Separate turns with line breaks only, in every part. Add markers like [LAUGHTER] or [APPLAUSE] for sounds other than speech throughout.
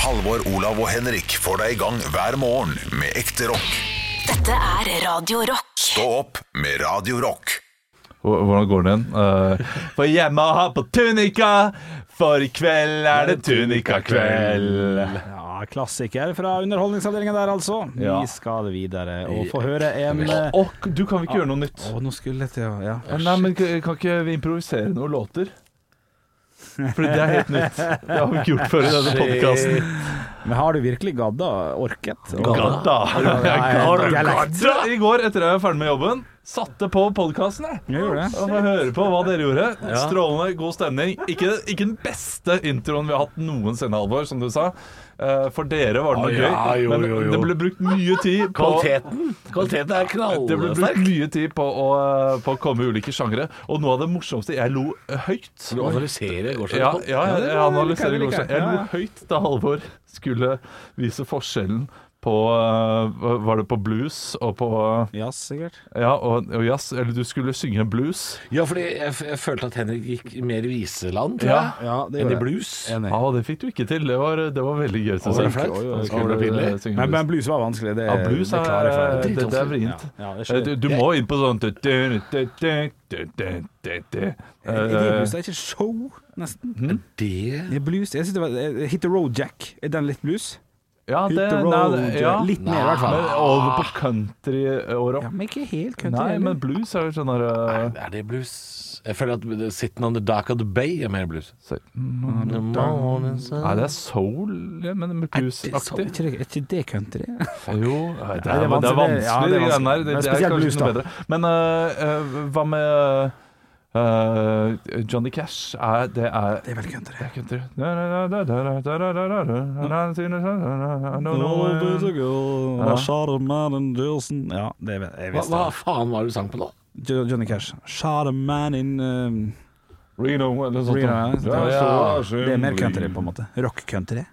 Halvor, Olav og Henrik får deg i gang hver morgen med ekte rock.
Dette er Radio Rock.
Stå opp med Radio Rock.
Hvor- Hvordan går
[LAUGHS]
den? Eh, for jeg må ha på tunika, for i kveld er det tunikakveld.
Ja, klassiker fra underholdningsavdelingen der, altså.
Ja.
Vi skal videre og få høre en eh,
Og du kan vel ikke gjøre noe nytt?
Å, nå skulle jeg til å Ja.
Ja, Nei, men kan kan ikke vi improvisere noen låter? Fordi det er helt [LAUGHS] nytt. Det har vi ikke gjort før i denne podkasten.
Men har du virkelig gadda orket? Og-
Gadda!
Ja,
Jeg
jeg
gadda.
likte
I går, etter at jeg var ferdig med jobben, satte på podkasten, jeg.
Jeg gjorde det.
Og får høre på hva dere gjorde. Strålende, god stemning. Ikke, ikke den beste introen vi har hatt noensinne, Alvor, som du sa. Eh, For dere var det nok
ja,
gøy,
jo,
men
jo, jo.
det ble brukt mye tid på
Kvaliteten Kvaliteten er
Det ble
knallsterk.
brukt mye tid på å, eh, på å komme i ulike sjangere, og noe av det morsomste Jeg lo høyt.
Du analyserer går så
Ja,
godt.
ja, jeg, jeg analyserer går
liker jeg, liker jeg.
seg. Jeg
Ja,
lo
ja.
høyt da Halvor skulle vise forskjellen på eh, Var det på blues og på eh,
Ja, sikkert.
Ja, og, og jazz? Eller du skulle synge blues?
Ja, fordi jeg, jeg følte at Henrik gikk mer i viseland, tror
Ja.
jeg.
Ja, det
Enn
gjorde
i
jeg.
blues.
Ja, Ah, det fikk du ikke til. Det var, det var veldig gøy.
Var det flaut? Var det pinlig?
Men, men blues var vanskelig. Det,
Ja, blues
det klarer
er,
jeg for deg.
det, det er vrient.
Ja, ja, det
Eh,
skjer.
Du, du må inn på sånn
Er det
Eh,
blues? Det er ikke show, nesten.
Det
Det er blues. Jeg synes det var eh, Hit the road jack. Er den litt blues?
Ja,
Hit
det
the
nei,
road
det-
jack.
ja.
Litt mer, i hvert fall.
Men over på country og rock.
Ja, men ikke helt country.
Nei,
heller.
men blues er jo sånn der eh,
Er det blues? Jeg føler at Sitting on the Dark of the Bay er mer blues.
så-
The morning sun.
mm, Nei, det er soul, ja, men med
Er
blues-aktig.
ikke det- er ikke det country?
Jo, nei, det,
Nei,
er, det er vanskelig,
Ja,
det
det er
greiene der. Det,
vanskelig. Men
det er
spesielt
kanskje
blues,
ikke noe
da.
bedre. Men øh, øh, hva med øh, Johnny Cash? Er, det er
Det er vel country.
det er country. Hva,
var charmer enn Dilson Ja, det vet jeg
Hva,
visste
hva faen var det du sang på nå?
det. Jo- Johnny Cash. Charman in um,
Reno eller sånt.
Reno,
noe.
ja. Det er mer country, på en måte. Rock-country.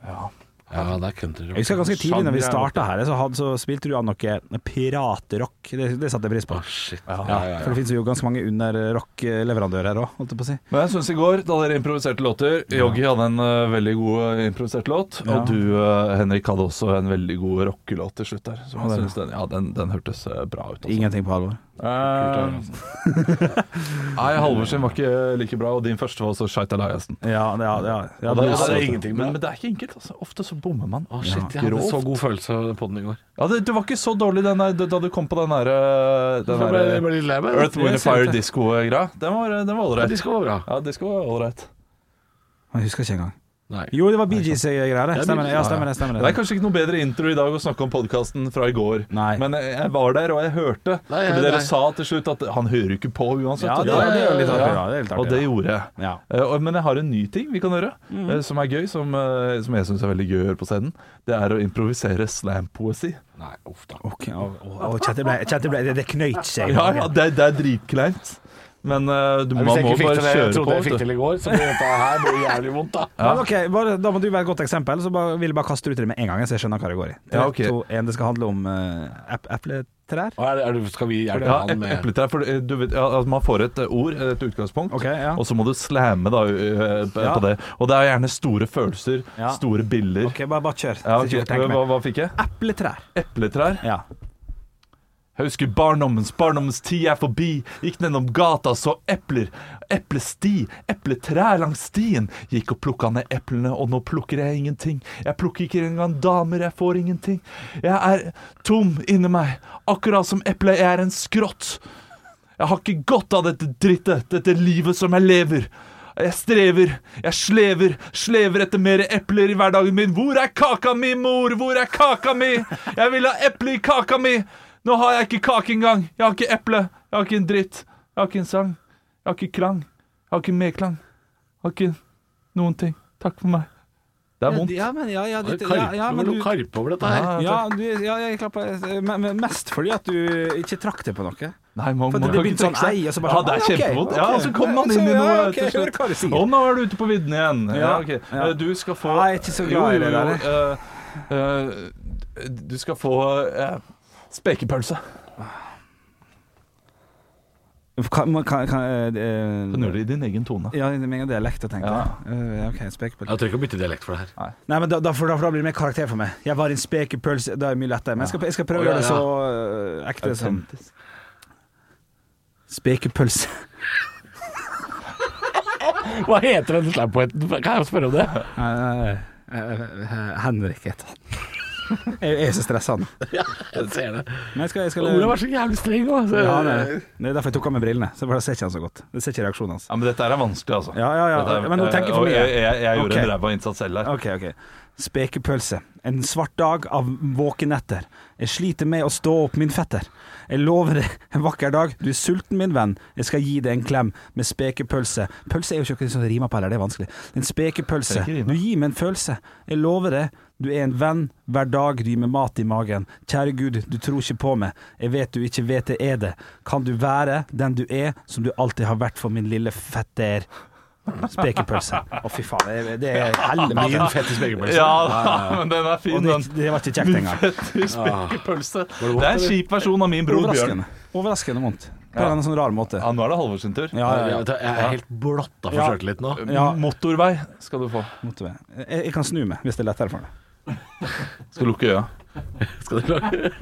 Ja, det er country rock.
Jeg husker ganske tidlig når vi
Genre.
starta her, så, hadde, så spilte du av noe piratrock. Det, det satte jeg pris på.
Å, shit.
Ja, For det finnes jo ganske mange underrock-leverandører her òg, holdt jeg på å si.
Men jeg syns i går, da dere improviserte låter Yogi hadde en øh, veldig god øh, improvisert låt.
Ja.
Og du, øh, Henrik, hadde også en veldig god rockelåt til slutt der. Så jeg synes den, ja, den, den hørtes øh, bra ut. altså.
Ingenting på alvor.
Eh, Nei, [LAUGHS] Halvor sin var ikke eh, like bra, og din første var også Skeit Eliassen.
Ja, det- ja, ja, ja,
Og da-
det-
ja, det er
det-
ingenting med det. Men, men det er ikke enkelt. Altså. Ofte så bommer man.
Å, shit, jeg hadde
Grovt.
så god følelse på den i går.
Ja, det, det var ikke så dårlig den der, da du kom på den der, øh, den
Jeg ble, jeg
der
ble litt lei meg.
Earth, Wind
Jeg
and
ser
Fire
det.
Disco-greia. Den var eh, den var
Ja,
ålreit.
Disco var bra.
Ja, disco var ålreit.
Jeg husker ikke engang.
Nei.
Jo, det var Bee Gees-greier.
er
Stemmer det.
Bee
Ja,
Gees,
stemmer det. Stemmer
Det er
det.
kanskje ikke noe bedre intro i dag å snakke om podkasten fra i går,
Nei.
men jeg jeg var der, og jeg hørte.
Nei,
fordi
nei,
dere
nei.
sa til slutt at han hører ikke på uansett.
Ja,
og
det,
da-
det er jo litt artig,
Ja.
da. Det er litt
Og
artig,
det
da.
gjorde jeg.
Ja.
Eh, og- Men jeg har en ny ting vi kan gjøre,
Mhm.
eh, som er gøy, som, eh, som jeg syns er veldig gøy å høre på scenen. Det er å improvisere slampoesi.
Nei, uff da.
Ok, og, og, og kjente ble, kjente ble, det, det knøyt seg. i
Ja, ja,
magen.
det, det er dritkleint, men eh, du, man
Hvis jeg
må
ikke fikk
bare
til det jeg
kjøre
trodde jeg
på.
fikk
vet du.
til i går, så blir dette her blir jævlig vondt, da.
Men ok, bare, Da må du være et godt eksempel, så bare, vil jeg bare kaste ut det med en gang. Så jeg skjønner hva det går i. Tre,
Ja, ok.
to, en, det skal handle om eh, ep- epletrær.
Og Er, er, du- skal vi hjelpe
Ja,
han med
epletrær. For eh, du vet, ja, altså, man får et eh, ord, et utgangspunkt,
Ok, ja.
og så må du slamme da, eh, på
Ja.
på det. Og det er gjerne store følelser,
Ja.
store bilder.
Ok, Bare, bare kjør.
Ja,
Så ikke
ok,
jeg tenker
hva,
meg.
hva fikk jeg?
Epletrær.
Epletrær.
Ja.
Jeg husker barndommens, barndommens tid er forbi. Gikk gjennom gata, så epler. Eplesti, epletrær langs stien. Gikk og plukka ned eplene, og nå plukker jeg ingenting. Jeg plukker ikke engang damer, jeg får ingenting. Jeg er tom inni meg, akkurat som eplet, jeg er en skrott. Jeg har ikke godt av dette drittet, dette livet som jeg lever. Jeg strever, jeg slever, slever etter mer epler i hverdagen min. Hvor er kaka mi, mor? Hvor er kaka mi? Jeg vil ha eple i kaka mi! Nå har jeg ikke kake engang. Jeg har ikke eple. Jeg har ikke en dritt. Jeg har ikke en sang. Jeg har ikke klang. Jeg har ikke medklang. Jeg har ikke noen ting. Takk for meg. Det er vondt.
Ja, men, ja, ja,
Karpe,
ditt, ja, ja, men du
karpe over dette her.
ja, du, ja, jeg klapper men, men Mest fordi at du ikke trakk det på noe.
Nei, man,
For
man
det
kan
begynte
ikke trekke
sånn,
seg.
ei, og så bare
ja,
sånn,
det er
ah, ok,
kjempevondt.
ok.
Ja, og så kom man inn
Så,
i
ja,
noe
ok,
til
jeg hører
slutt.
hva du sier.
Å, nå er du ute på vidden igjen. Ja,
Ja,
ok.
ja.
Eh, Du skal få
Nei, jeg er ikke så glad i det
Jo, jo, jo, eh, eh, Du
Mm.
skal få eh, spekepølse.
Kan, man- kan, kan, eh,
Kan gjøre det i din egen tone.
Ja, med en gang dialekt, jeg tenkte jeg. Eh, ok, spekepølse.
Jeg trenger ikke å bytte dialekt for det her.
Nei, men da, da, for, da, for da blir det mer karakter for meg. Jeg var en spekepølse, da er det mye lettere. Men jeg skal, jeg skal prøve å
Å, ja,
gjøre det
ja.
så eh, ekte som
Autentisk.
Spekepølse.
Hva heter den slampoeten? Kan jeg spørre om det?
Henrik heter han. Jeg jeg er så stressa nå.
[LAUGHS] Jeg ser det.
Men jeg skal, jeg skal
Olav er så jævlig streng altså. nå. så-
Ja, det, er- det er derfor jeg tok av meg brillene. Så bare ser ikke han så godt. Jeg ser ikke reaksjonen hans.
Ja, men dette her er vanskelig, altså.
Ja, ja, ja.
Dette er-
Men nå tenker jeg for
og
mye.
Jeg, jeg, jeg gjorde
Ok.
en ræva innsats selv her.
Ok, ok. Spekepølse. En svart dag av våkenetter. Jeg sliter med å stå opp, min fetter. Jeg lover deg en vakker dag. Du er sulten, min venn. Jeg skal gi deg en klem med spekepølse. Pølse er jo ikke noe som rimer på heller, det er vanskelig. En spekepølse.
Det er ikke rime.
Du gir meg en følelse. Jeg lover deg. Du er en venn hver dag du gir meg mat i magen. Kjære Gud, du tror ikke på meg. Jeg vet du ikke vet jeg er det. Kan du være den du er, som du alltid har vært for min lille fetter? Spekepølse. Å, fy faen. det er- Det er helvete.
Min fette spekepølse.
[LAUGHS] Ja, men den er
Og
fin,
det,
den.
det var ikke kjekt engang.
Spekepølse.
vondt,
Det er en kjip versjon av min bror Bjørn.
Overraskende. Overraskende vondt. På en sånn rar måte.
Ja, nå er det Halvor sin tur.
Ja, ja, ja.
Jeg er helt blotta for
Ja.
sjøltillit nå.
Ja.
Motorvei skal du få.
Måtte være. Jeg, jeg kan snu meg, hvis det er lettere for deg.
Skal lukke øya.
Skal du klare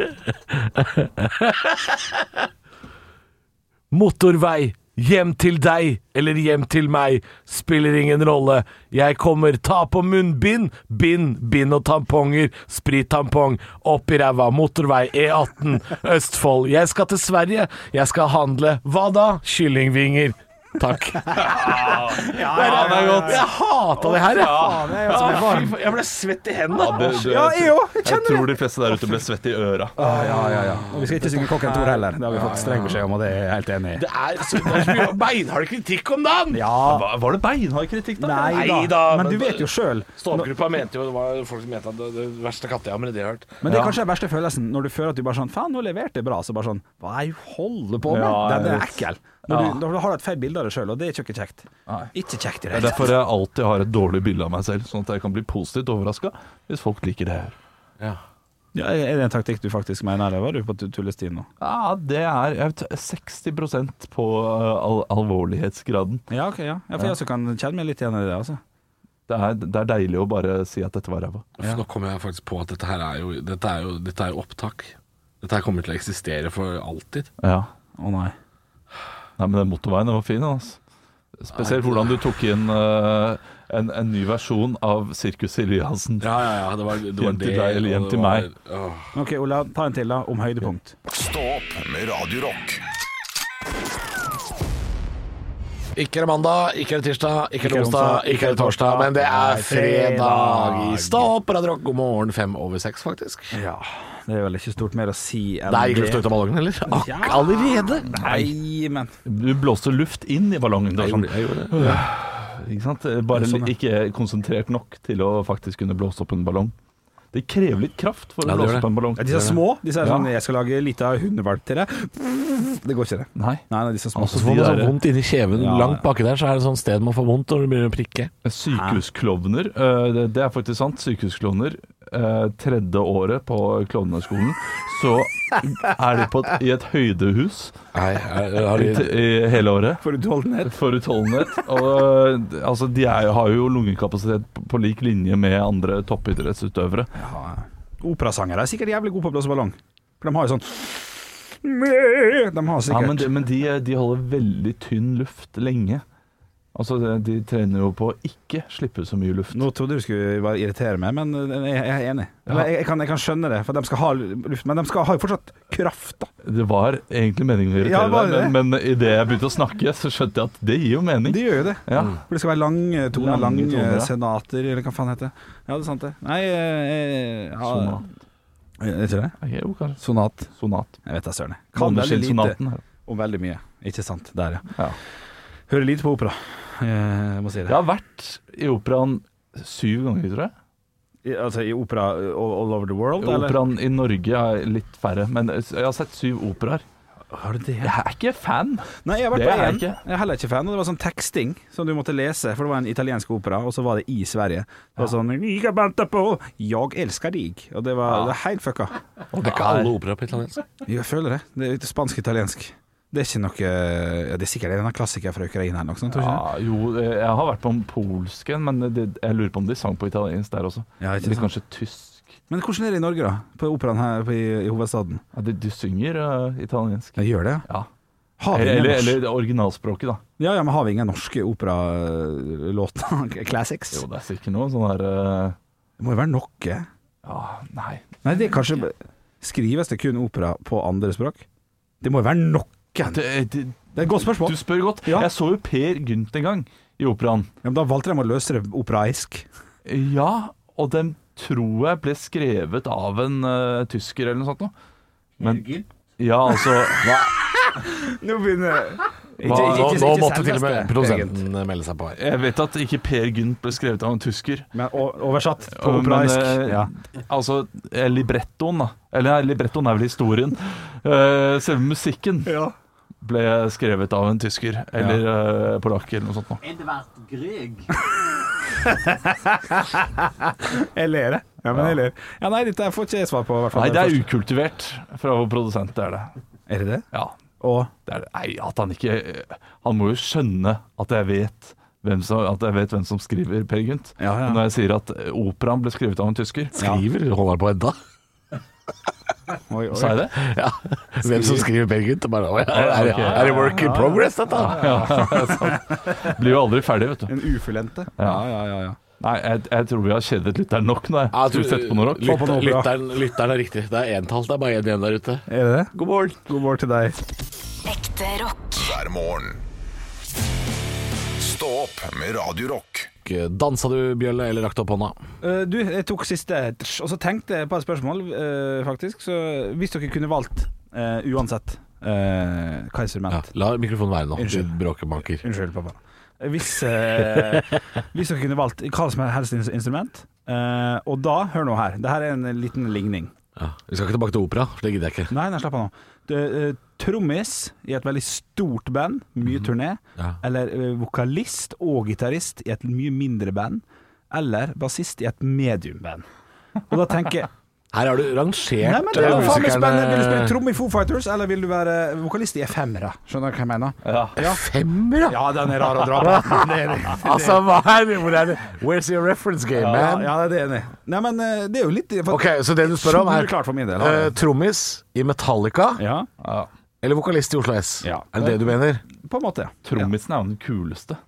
Motorvei, hjem til deg eller hjem til meg, spiller ingen rolle. Jeg kommer, ta på munnbind, bind, bind og tamponger, sprittampong, opp i ræva, motorvei, E18, Østfold. Jeg skal til Sverige, jeg skal handle. Hva da? Kyllingvinger. Takk. [LAUGHS]
Ja, det er godt.
Jeg hata det her, jeg.
Ja.
Ja, fy faen, jeg ble svett i hendene.
Ja, det- det-
Ja, jeg òg! Jeg
Jeg
kjenner det!
tror de fleste der ute ble svette i øra.
Ah, Og vi skal ikke synge Kokken Tor heller. Det har vi fått streng beskjed om, og det er jeg helt enig i.
Det er så, det er så mye beinhard kritikk om dagen!
Ja.
Hva- Var det beinhard kritikk, da?
Nei da.
Nei da,
Men
men-
du vet jo sjøl.
Stålgruppa mente jo det var folk som mente at det, det verste kattejammeret de har hørt.
Men det er kanskje den verste følelsen, når du føler at du bare sånn Faen, nå leverte jeg bra. Så bare sånn Hva er det du holder på med?
Ja,
Den
jeg
er
vet.
ekkel. Når du, når du har et feil bilde av deg sjøl, og det er ikke ikke kjekt. Ikke kjekt i
Det
det
er
hele tatt.
derfor jeg alltid har et dårlig bilde av meg selv, sånn at jeg kan bli positivt overraska hvis folk liker det her.
Ja, Er det en taktikk du faktisk mener, eller var du på tu- tullestil nå?
Ja, det er jeg vet, 60 på eh, al alvorlighetsgraden.
Ja, ok, ja. ja for jeg også kan kjenne meg litt igjen i det, altså.
Det er, det er deilig å bare si at dette var ræva.
Nå kommer jeg faktisk på at dette her er jo Dette er jo, dette er jo opptak. Dette her kommer til å eksistere for alltid.
Ja.
Å nei.
Nei, men den motorveien den var fin. Altså. Spesielt hvordan du tok inn eh, en, en ny versjon av Sirkus Eliassen.
Ja, ja, ja. Det var, det var
Hjem til
det,
deg eller
og
hjem
det
til
var-
meg.
Åh.
Ok, Olav, ta en til da, om høydepunkt.
Stå opp med Radio Rock.
Ikke er det mandag, ikke er det tirsdag, ikke er
Ikke er
det
det
onsdag,
onsdag,
ikke er det torsdag, men det er fredag.
fredag.
Stå opp, Radio Rock. God morgen, fem over seks, faktisk.
Ja, det er vel ikke stort mer å si enn
Der gikk lufta ut av ballongen, eller? Ak allerede?
Nei, men
Du blåste luft inn i ballongen. Det var sånn,
det.
ikke sant? Bare
Sånn, ja.
ikke konsentrert nok til å faktisk kunne blåse opp en ballong. Det krever litt kraft for
Ja, det
å
gjør
blåse
det.
opp en ballong.
ja, Disse små, disse er
Ja.
sånn Jeg skal lage litt av hundevalp til deg. Det går ikke, det.
Nei.
Nei, nei, disse små.
Altså,
Så får man
De
sånn
der-
vondt inni kjeven
Ja.
langt baki der, så er det sånn sted man får vondt når det begynner å prikke.
Sykehusklovner, eh, det, det er faktisk sant. Sykehusklovner. eh, Tredje året på klovneskolen, så er de på et, i et høydehus
Nei, er, er,
i,
er,
i hele året.
For utholdenhet.
for utholdenhet. Og d- altså, de er, jo- har jo lungekapasitet på- på lik linje med andre toppidrettsutøvere.
Operasangere er sikkert jævlig gode på å blåse ballong. For de har jo sånn De har
Ja,
sikkert
men de, men de, de holder veldig tynn luft lenge. Altså, de- de trener jo på å ikke slippe så mye luft.
Nå trodde du skulle bare irritere meg, men eh, jeg jeg er enig. Eller Jeg, jeg, kan, jeg kan skjønne det, for de skal ha luft, men de skal ha jo fortsatt kraft, da.
Det var egentlig meningen å
Ja,
irritere
var det
deg, men, men idet jeg begynte å snakke, så skjønte jeg at det gir jo mening.
De gjør jo det.
Ja.
For det skal være lang eh, tone,
Lange
lang eh,
toner, ja.
senater, eller hva faen heter det. Ja, det er sant det. Nei eh, eh, ja,
Sonat.
Er det ikke det?
Ok, jo, kanskje.
Sonat.
Sonat.
Jeg vet da søren. jeg. Kan veldig lite
Måneskinnssonaten.
om veldig mye. Ikke sant. Der, ja.
Ja.
Hører lite på opera. Eh, Jeg må si
Jeg
det.
har vært i operaen syv ganger, tror jeg.
I, altså i opera eh, all, all over the world, eller?
Operaen i Norge er litt færre, men jeg har sett syv operaer.
Har du det?
Jeg er ikke fan.
Nei, jeg har vært
Det
på
er jeg
én.
ikke.
Jeg er heller ikke fan. Og det var sånn teksting som du måtte lese, for det var en italiensk opera, og så var det i Sverige. Det var sånn «Jeg har ventet på, jeg elsker deg. Og det var, det var helt fucka.
er ikke alle operaer på altså? italiensk?
Jeg føler det. Det er litt spansk-italiensk. Det er ikke noe ja, Det er sikkert en eller annen klassiker fra Ukraina eller noe sånt, tror du ikke?
Ja, jo, eh, jeg har vært på en polsk en, men det, jeg lurer på om de sang på italiensk der også.
det? Ja, ikke
Eller
sant?
kanskje tysk.
Men hvordan er det i Norge, da? På operaen her på- i, i hovedstaden?
Ja, de, de synger eh, italiensk.
Ja, gjør det? ja.
Ja.
Har vi ingen
Eller,
norsk-
eller det originalspråket, da.
Ja, ja, men har vi ingen norske operalåter? [LAUGHS] Classics?
Jo, det er sikkert noe sånn her eh,
Det må jo være noe.
Ja, nei.
Nei, det er kanskje Skrives det kun opera på andre språk? Det må jo være noen. Det
Det, det,
er et godt spørsmål.
Eh, du spør godt.
Ja.
Jeg så jo Per Gynt en gang i operaen.
Ja, men da valgte de å løse det operaisk.
Ja, og den tror jeg ble skrevet av en eh, tysker eller noe sånt noe. Men Ja, altså hva,
[LAUGHS] Nå begynner
Nå, nå, nå måtte til og med
Egen.
produsenten melde seg på her.
Jeg vet at ikke Per Gynt ble skrevet av en tysker.
Men o- oversatt på
Men,
operaisk.
eh,
ja.
Altså eh, librettoen, da. Eller nei, librettoen er vel historien. Eh, selve musikken ble skrevet av en tysker eller eh, polakk eller noe sånt noe.
Edvard Grieg.
Jeg ler, jeg. Ja, men jeg ler. Ja, nei, dette får ikke jeg svar på. i hvert fall.
Nei, det er ukultivert fra vår produsent, det er det.
Er det det?
Ja,
Og
det er det. Nei, at han ikke eh, Han må jo skjønne at jeg vet hvem som, at jeg vet hvem som skriver Per Gynt.
Ja, ja.
Når jeg sier at eh, operaen ble skrevet av en tysker.
Skriver holder han på enda? [LAUGHS]
Oi, oi.
Sa jeg det?
Ja. Hvem som skriver Per Gynt? det er Bare, å, ja, er, det- er det work in progress, dette?
Blir jo aldri ferdig, vet du.
En ufullendte? Ja,
Ja.
ja, ja. ja.
Nei, jeg, jeg tror vi har kjedet lytteren nok nå. jeg.
Ja,
Skal vi sette på noe rock?
lytter-
Få på noe bra.
lytteren, lytteren er riktig. Det er entall. Det er bare én igjen der ute.
Er det det?
God morgen.
God morgen til deg.
Ekte rock.
hver morgen. Stå opp med Radio Rock.
Dansa du, Bjølle, eller rakte opp hånda?
Eh, du, jeg tok siste tsch, Og så tenkte jeg på et spørsmål, eh, faktisk. Så hvis dere kunne valgt, eh, uansett uh, hva instrument
Ja. La mikrofonen være nå. Du
Unnskyld.
bråkemaker.
Unnskyld, pappa. Hvis, eh, hvis dere kunne valgt hva som helst ins- instrument eh, Og da, hør nå her, det her er en liten ligning.
Ja. Vi skal ikke tilbake til opera, for det gidder jeg ikke.
Nei, nei, slapp av nå. Det, eh, Trommis i et veldig stort band, mye turné.
Ja.
Eller eh, vokalist og gitarist i et mye mindre band. Eller bassist i et mediumband. Og da tenker jeg
Her har du rangert
Nei, men det er
eh,
jo faen meg spennende! Vil du spille
musikerne
tromme i Foo Fighters, eller vil du være vokalist i Efemera? Skjønner du hva jeg mener?
Ja.
Femmer, ja!
Ja, den er [LAUGHS] rar å dra på.
[LAUGHS]
Det er det.
Altså, hva er det? Hvor er det? Where's your reference game,
Ja,
man?
ja, det er jeg enig. i. Nei, men eh, det er jo litt for-
Ok, så det du spør om, er
Soleklart for min del, har
eh,
jeg.
trommis i Metallica
Ja,
eller vokalist i Oslo S?
Ja.
Er det det du mener?
på en måte. Ja.
Trommisen er jo den kuleste.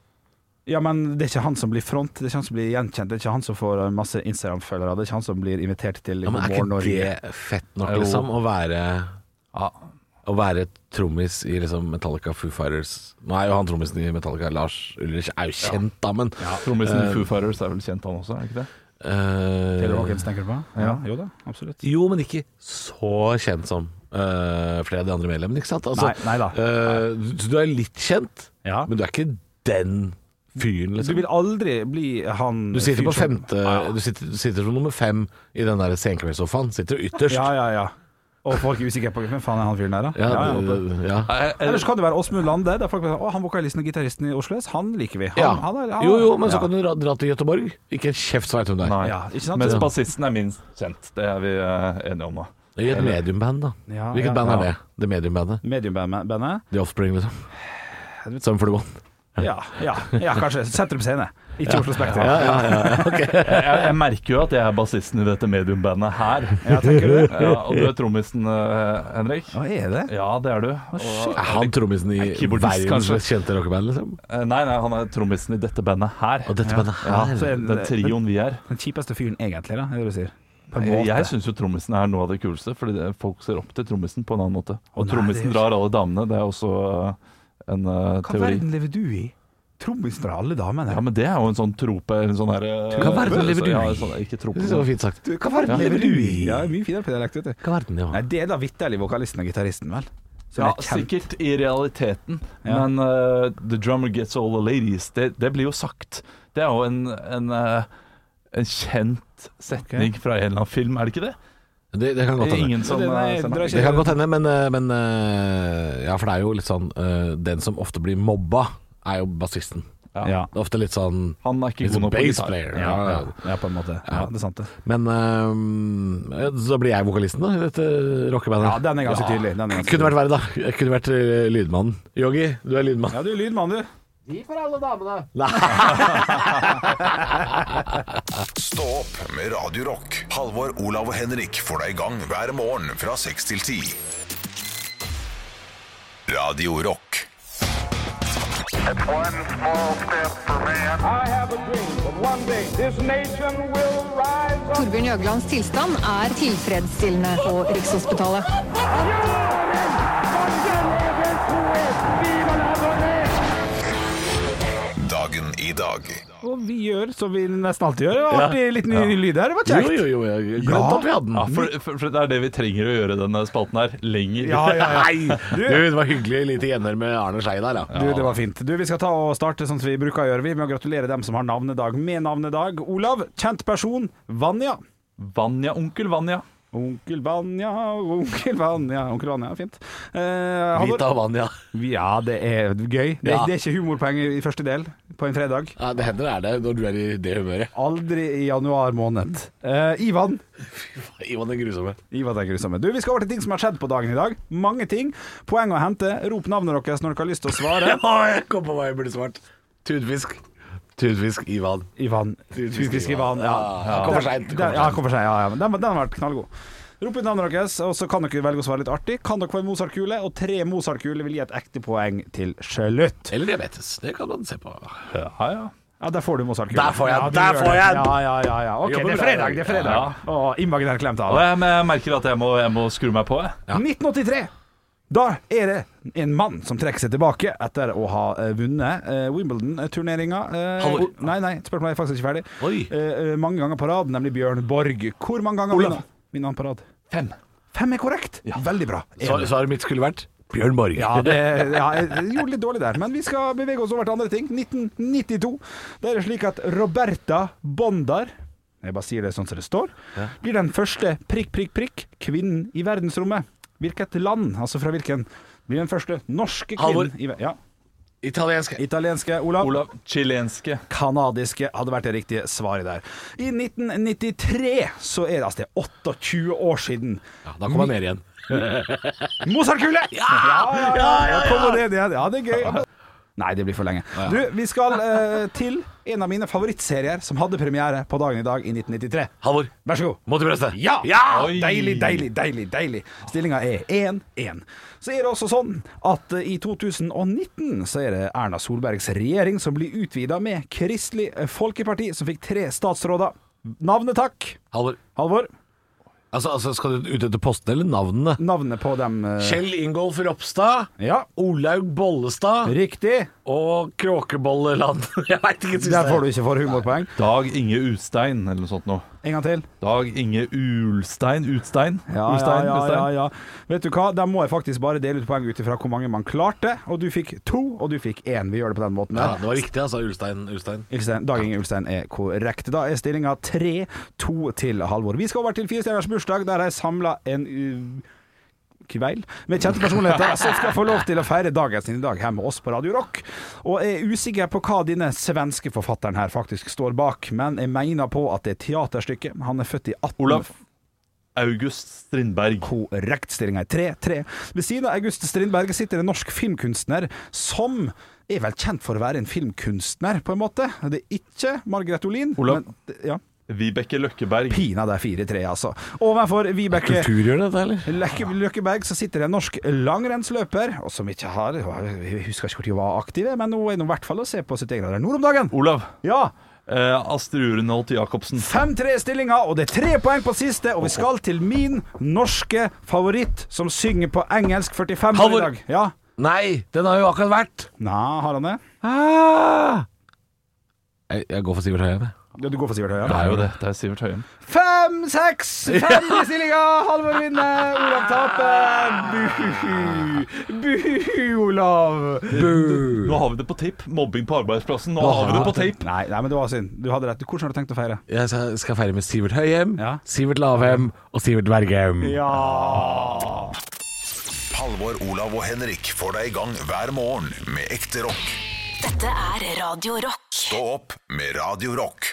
ja, men det er ikke han som blir front, det er ikke han som blir gjenkjent, det er ikke han som får eh, masse Instagram-følgere, det er ikke han som blir invitert til
Ja,
God
men er
morgen Norge.
ikke det fett nok,
Jo.
liksom? Å være
Ja.
Å være trommis i liksom Metallica Foo Fighters Nå er jo han trommisen i Metallica, Lars Ulrich, er jo kjent, da, men
Trommisen i Foo Fighters er vel kjent, han også? er ikke det?
eh,
Taylor Hawkins tenker du på? Ja, jo da, absolutt.
Jo, men ikke så kjent som eh, flere av de andre medlemmene, ikke sant? Altså,
Nei, nei da.
eh, du- du er litt kjent,
Ja.
men du er ikke den fyren,
Du
liksom.
vil aldri bli han
Du sitter, på
fyren som-
femte, du, sitter, du sitter som nummer fem i den der senkveldssofaen. Sitter du ytterst.
Ja, ja, ja. Og folk er usikre på hvem faen er han fyren der, da?
Ja,
Ja, ja.
du- ja.
Eh, eh,
Ellers kan det være Åsmund Lande. Der folk bare, å, han vokalisten og gitaristen i Oslo S, han liker vi. Han,
Ja.
han er- han-
Jo, jo, men så
Ja.
kan du dra, dra til Göteborg. Ikke en kjeft så vet hun det er.
Nei.
Ja, ikke sant?
Mens
Ja.
bassisten er minst kjent. Det er vi eh, enige om nå.
I et mediumband, da.
Ja, ja,
Hvilket band
ja.
er det? Det mediumbandet?
Mediumbandet.
The Offspring, liksom? Som fluon?
Ja, ja, ja, kanskje. Sentrum Scene. Ikke Oslo Spektrum.
[LAUGHS]
[LAUGHS]
Jeg, jeg merker jo at jeg er bassisten i dette mediumbandet her.
Ja, tenker du det?
[LAUGHS] Ja, og du er trommisen, eh, Henrik.
Hva er det?
Ja, det er du. Og,
Er han trommisen i
keyboardist,
verdens
kanskje.
mest kjente rockeband, liksom?
eh, nei, nei, han er trommisen i dette bandet her.
Og dette bandet
Ja,
her
så er det-
den trioen vi er.
Den kjipeste fyren egentlig, da, er det du sier. På en måte.
Jeg syns jo trommisen er noe av det kuleste, fordi det, folk ser opp til trommisen på en annen måte. Og
Å, nei, det
trommisen
er-
drar alle damene. Det er også eh, en eh,
Hva
teori.
verden lever du i? Trommisen drar alle damene.
Ja, men det er jo en sånn trope eller en sånn her, eh,
Hva verden
så-
lever du
ja,
i?
en Sånn, ikke trope,
Det var fint sagt.
Du, hva verden
Ja.
lever du i? Ja, det er Mye finere på dialekt, vet du.
Hva verden, ja.
Nei, det er da vitterlig vokalisten og gitaristen, vel? Som
Ja,
er kjent.
sikkert i realiteten,
Ja.
men eh, 'The drummer gets all the ladies', det, det blir jo sagt. Det er jo en, en, eh, en kjent setning fra en eller annen film, er det ikke det?
Det, det kan
Det
godt
er
hende.
ingen som
Det- nei,
eh,
det er
Det kan godt hende, men, eh, men eh, Ja, for det er jo litt sånn eh, Den som ofte blir mobba, er jo bassisten. Ja.
Ja.
Det er ofte litt sånn
Han er ikke
Litt
god
sånn
nok på
bass
gitar.
player.
Ja, ja, ja, på en måte. Ja, det er sant, det.
Men eh, så blir jeg vokalisten da i dette rockebandet.
Ja, den er ganske tydelig. Den er ganske tydelig.
Kunne vært verre, da. Jeg kunne vært eh, lydmannen. Yogi, du er lydmann.
Ja, du er lydmann, du.
Stå opp med Radio Rock. Halvor, Olav og Henrik får deg i gang hver morgen fra 6 til 10. Radio Rock.
One small step for man.
I have a dream that one day this nation will rise up.
Torbjørn Jøglands tilstand er tilfredsstillende på Rikshospitalet.
Dagen i dag.
Og vi gjør som vi nesten alltid gjør. Det var Artig liten ny lyd her. Det var
Jo,
kjekt.
jo, jo. Jeg glemte
Ja.
at vi hadde den.
Ja, for, for, for det er det vi trenger å gjøre denne spalten her. Lenger.
Ja, ja, ja.
Nei! Du, det var hyggelig lite gjenhør med Arne Skei der, ja.
Du, det var fint. Du, Vi skal ta og starte sånn som vi bruker å gjøre, vi, med å gratulere dem som har navnedag med navnedag. Olav, kjent person, Vanja.
Vanja, onkel Vanja.
Onkel Vanja, onkel Vanja, onkel Vanja. Fint. Eh, Halvor?
Vita og Vanja.
Ja, det er gøy. Det, er-
Ja.
det er ikke humorpoeng i i første del på en fredag.
Ja, det hender det er det når du er i det humøret.
Aldri i januar måned. Eh, Ivan.
Ivan den grusomme.
Ivan er grusomme. Du, Vi skal over til ting som har skjedd på dagen i dag. Mange ting. Poeng å hente. Rop navnet deres når dere har lyst til å
[LAUGHS]
svare.
Å, jeg kom på hva jeg burde svart. Tunfisk. Tunfisk Ivan.
Ivan. Typisk Ivan.
Ja,
Ja.
han kom for seint.
Den, den, ja, kom for seg, ja, ja. men Den, den har vært knallgod. Rop ut navnet deres, og så kan dere velge å svare litt artig. Kan dere få en Mozart-kule? Og tre Mozart-kuler vil gi et ekte poeng til slutt.
Eller diabetes. Det kan man se på.
Ja, ja.
Ja, der får du Mozart-kule.
Der får jeg-
ja, du
der
gjør
får
det.
jeg den.
Ja, ja, ja, ja. Ok,
Jobber
det er
bra,
fredag, det er fredag. Å, innbakken er
Og
klemt av.
jeg, jeg merker at jeg må, jeg må skru meg på. Jeg.
1983. Da er det en mann som trekker seg tilbake etter å ha eh, vunnet eh, Wimbledon-turneringa. Eh,
Halvor.
o- nei, nei, spørsmålet er faktisk ikke ferdig.
Oi.
Eh, eh, mange ganger på rad, nemlig Bjørn Borg. Hvor mange ganger
Olav.
vinner han- vinner han på rad?
Fem.
Fem er korrekt. Veldig bra.
Så- Svaret mitt skulle vært Bjørn Borge.
Ja, det, ja, jeg gjorde litt dårlig der, men vi skal bevege oss over til andre ting. 1992. Da er det slik at Roberta Bondar Jeg bare sier det sånn som det står. Blir den første prikk, prikk, prikk kvinnen i verdensrommet. Hvilket land, altså fra hvilken, blir den første norske
Halvor.
kvinnen i ver- Ja.
Italiensk.
Italienske Olav.
Olav, chilenske.
Kanadiske hadde vært det riktige svaret der. I 1993 så er det altså det er 28 år siden.
Ja, da kom han ned igjen.
Mozartkule! Ja! Ja, ja, ja, Kom og ned igjen. Ja, det er gøy. Nei, det blir for lenge. Du, vi skal eh, til en av mine favorittserier som hadde premiere på dagen i dag i 1993.
Halvor.
Vær så god.
Mot i brøstet.
Ja!
Oi.
Deilig, deilig, deilig. deilig Stillinga er 1-1. Så er det også sånn at eh, i 2019 så er det Erna Solbergs regjering som blir utvida med Kristelig eh, Folkeparti, som fikk tre statsråder. Navnet, takk.
Halvor.
Halvor,
Altså, altså, skal du ut etter postene eller navnene?
navnet på dem eh,
Kjell Ingolf Ropstad.
Ja,
Olaug Bollestad.
riktig.
Og Kråkebolleland. [LAUGHS] Jeg veit ikke siste.
Der får du ikke for humorpoeng.
Dag Inge Utstein eller noe sånt noe.
En gang til.
Dag Inge Ulstein Utstein?
Ja, ja,
Ulstein?
ja,
Ulstein?
ja, ja. Vet du hva, da må jeg faktisk bare dele ut poeng ut ifra hvor mange man klarte. Og du fikk to, og du fikk én. Vi gjør det på den måten.
Ja,
der.
det var riktig, altså. Ulstein. Ulstein.
Ikke sant? Dag Inge Ulstein er korrekt. Da er stillinga 3-2 til Halvor. Vi skal over til firestjerners bursdag, der jeg samla en uh, kveil med kjente
[LAUGHS]
personligheter som skal få lov til å feire dagen sin i dag her med oss på Radio Rock. Og jeg er usikker på hva denne svenske forfatteren her faktisk står bak, men jeg mener på at det er teaterstykket. Han er født i 18...
Olav August Strindberg.
Korrekt stilling er 3-3. Ved siden av August Strindberg sitter en norsk filmkunstner som er vel kjent for å være en filmkunstner, på en måte. Det er ikke Margaret Olin.
Olav.
Men, ja.
Vibeke Løkkeberg.
Pinadø 4-3, altså. Overfor Vibeke
Kulturgjør dette, eller?
Løkke, Løkkeberg så sitter en norsk langrennsløper, og som ikke har Jeg husker ikke hvor de var aktive, men hun er nå i hvert fall å se på sitt eget land nord om dagen.
Olav
Ja!
eh, Astrid Urenholt Jacobsen.
5-3-stillinga, og det er tre poeng på siste, og vi skal til min norske favoritt, som synger på engelsk 45 år
Halvor.
i dag. Ja.
Nei, den har jo akkurat vært.
Nei, har han det?
Ah! Jeg, jeg går for Sivert Høyem. jeg.
Ja, du går for Sivert Høie?
Det er jo det. Det er Sivert Høyen.
Fem, seks, fem i stillinga! Halvor vinner, Olav taper. Buhu, buhu, Olav.
Nå har vi det på tape. Mobbing på arbeidsplassen. Nå har vi det på tape.
Nei, nei, men det var synd. Du hadde rett. Hvordan har du tenkt å feire?
Jeg skal, skal feire med Sivert Høyem,
Ja.
Sivert Lavem og Sivert Bergem.
Ja
Halvor, Olav og Henrik får deg i gang hver morgen med ekte rock.
Dette er Radio Rock.
Stå opp med Radio Rock.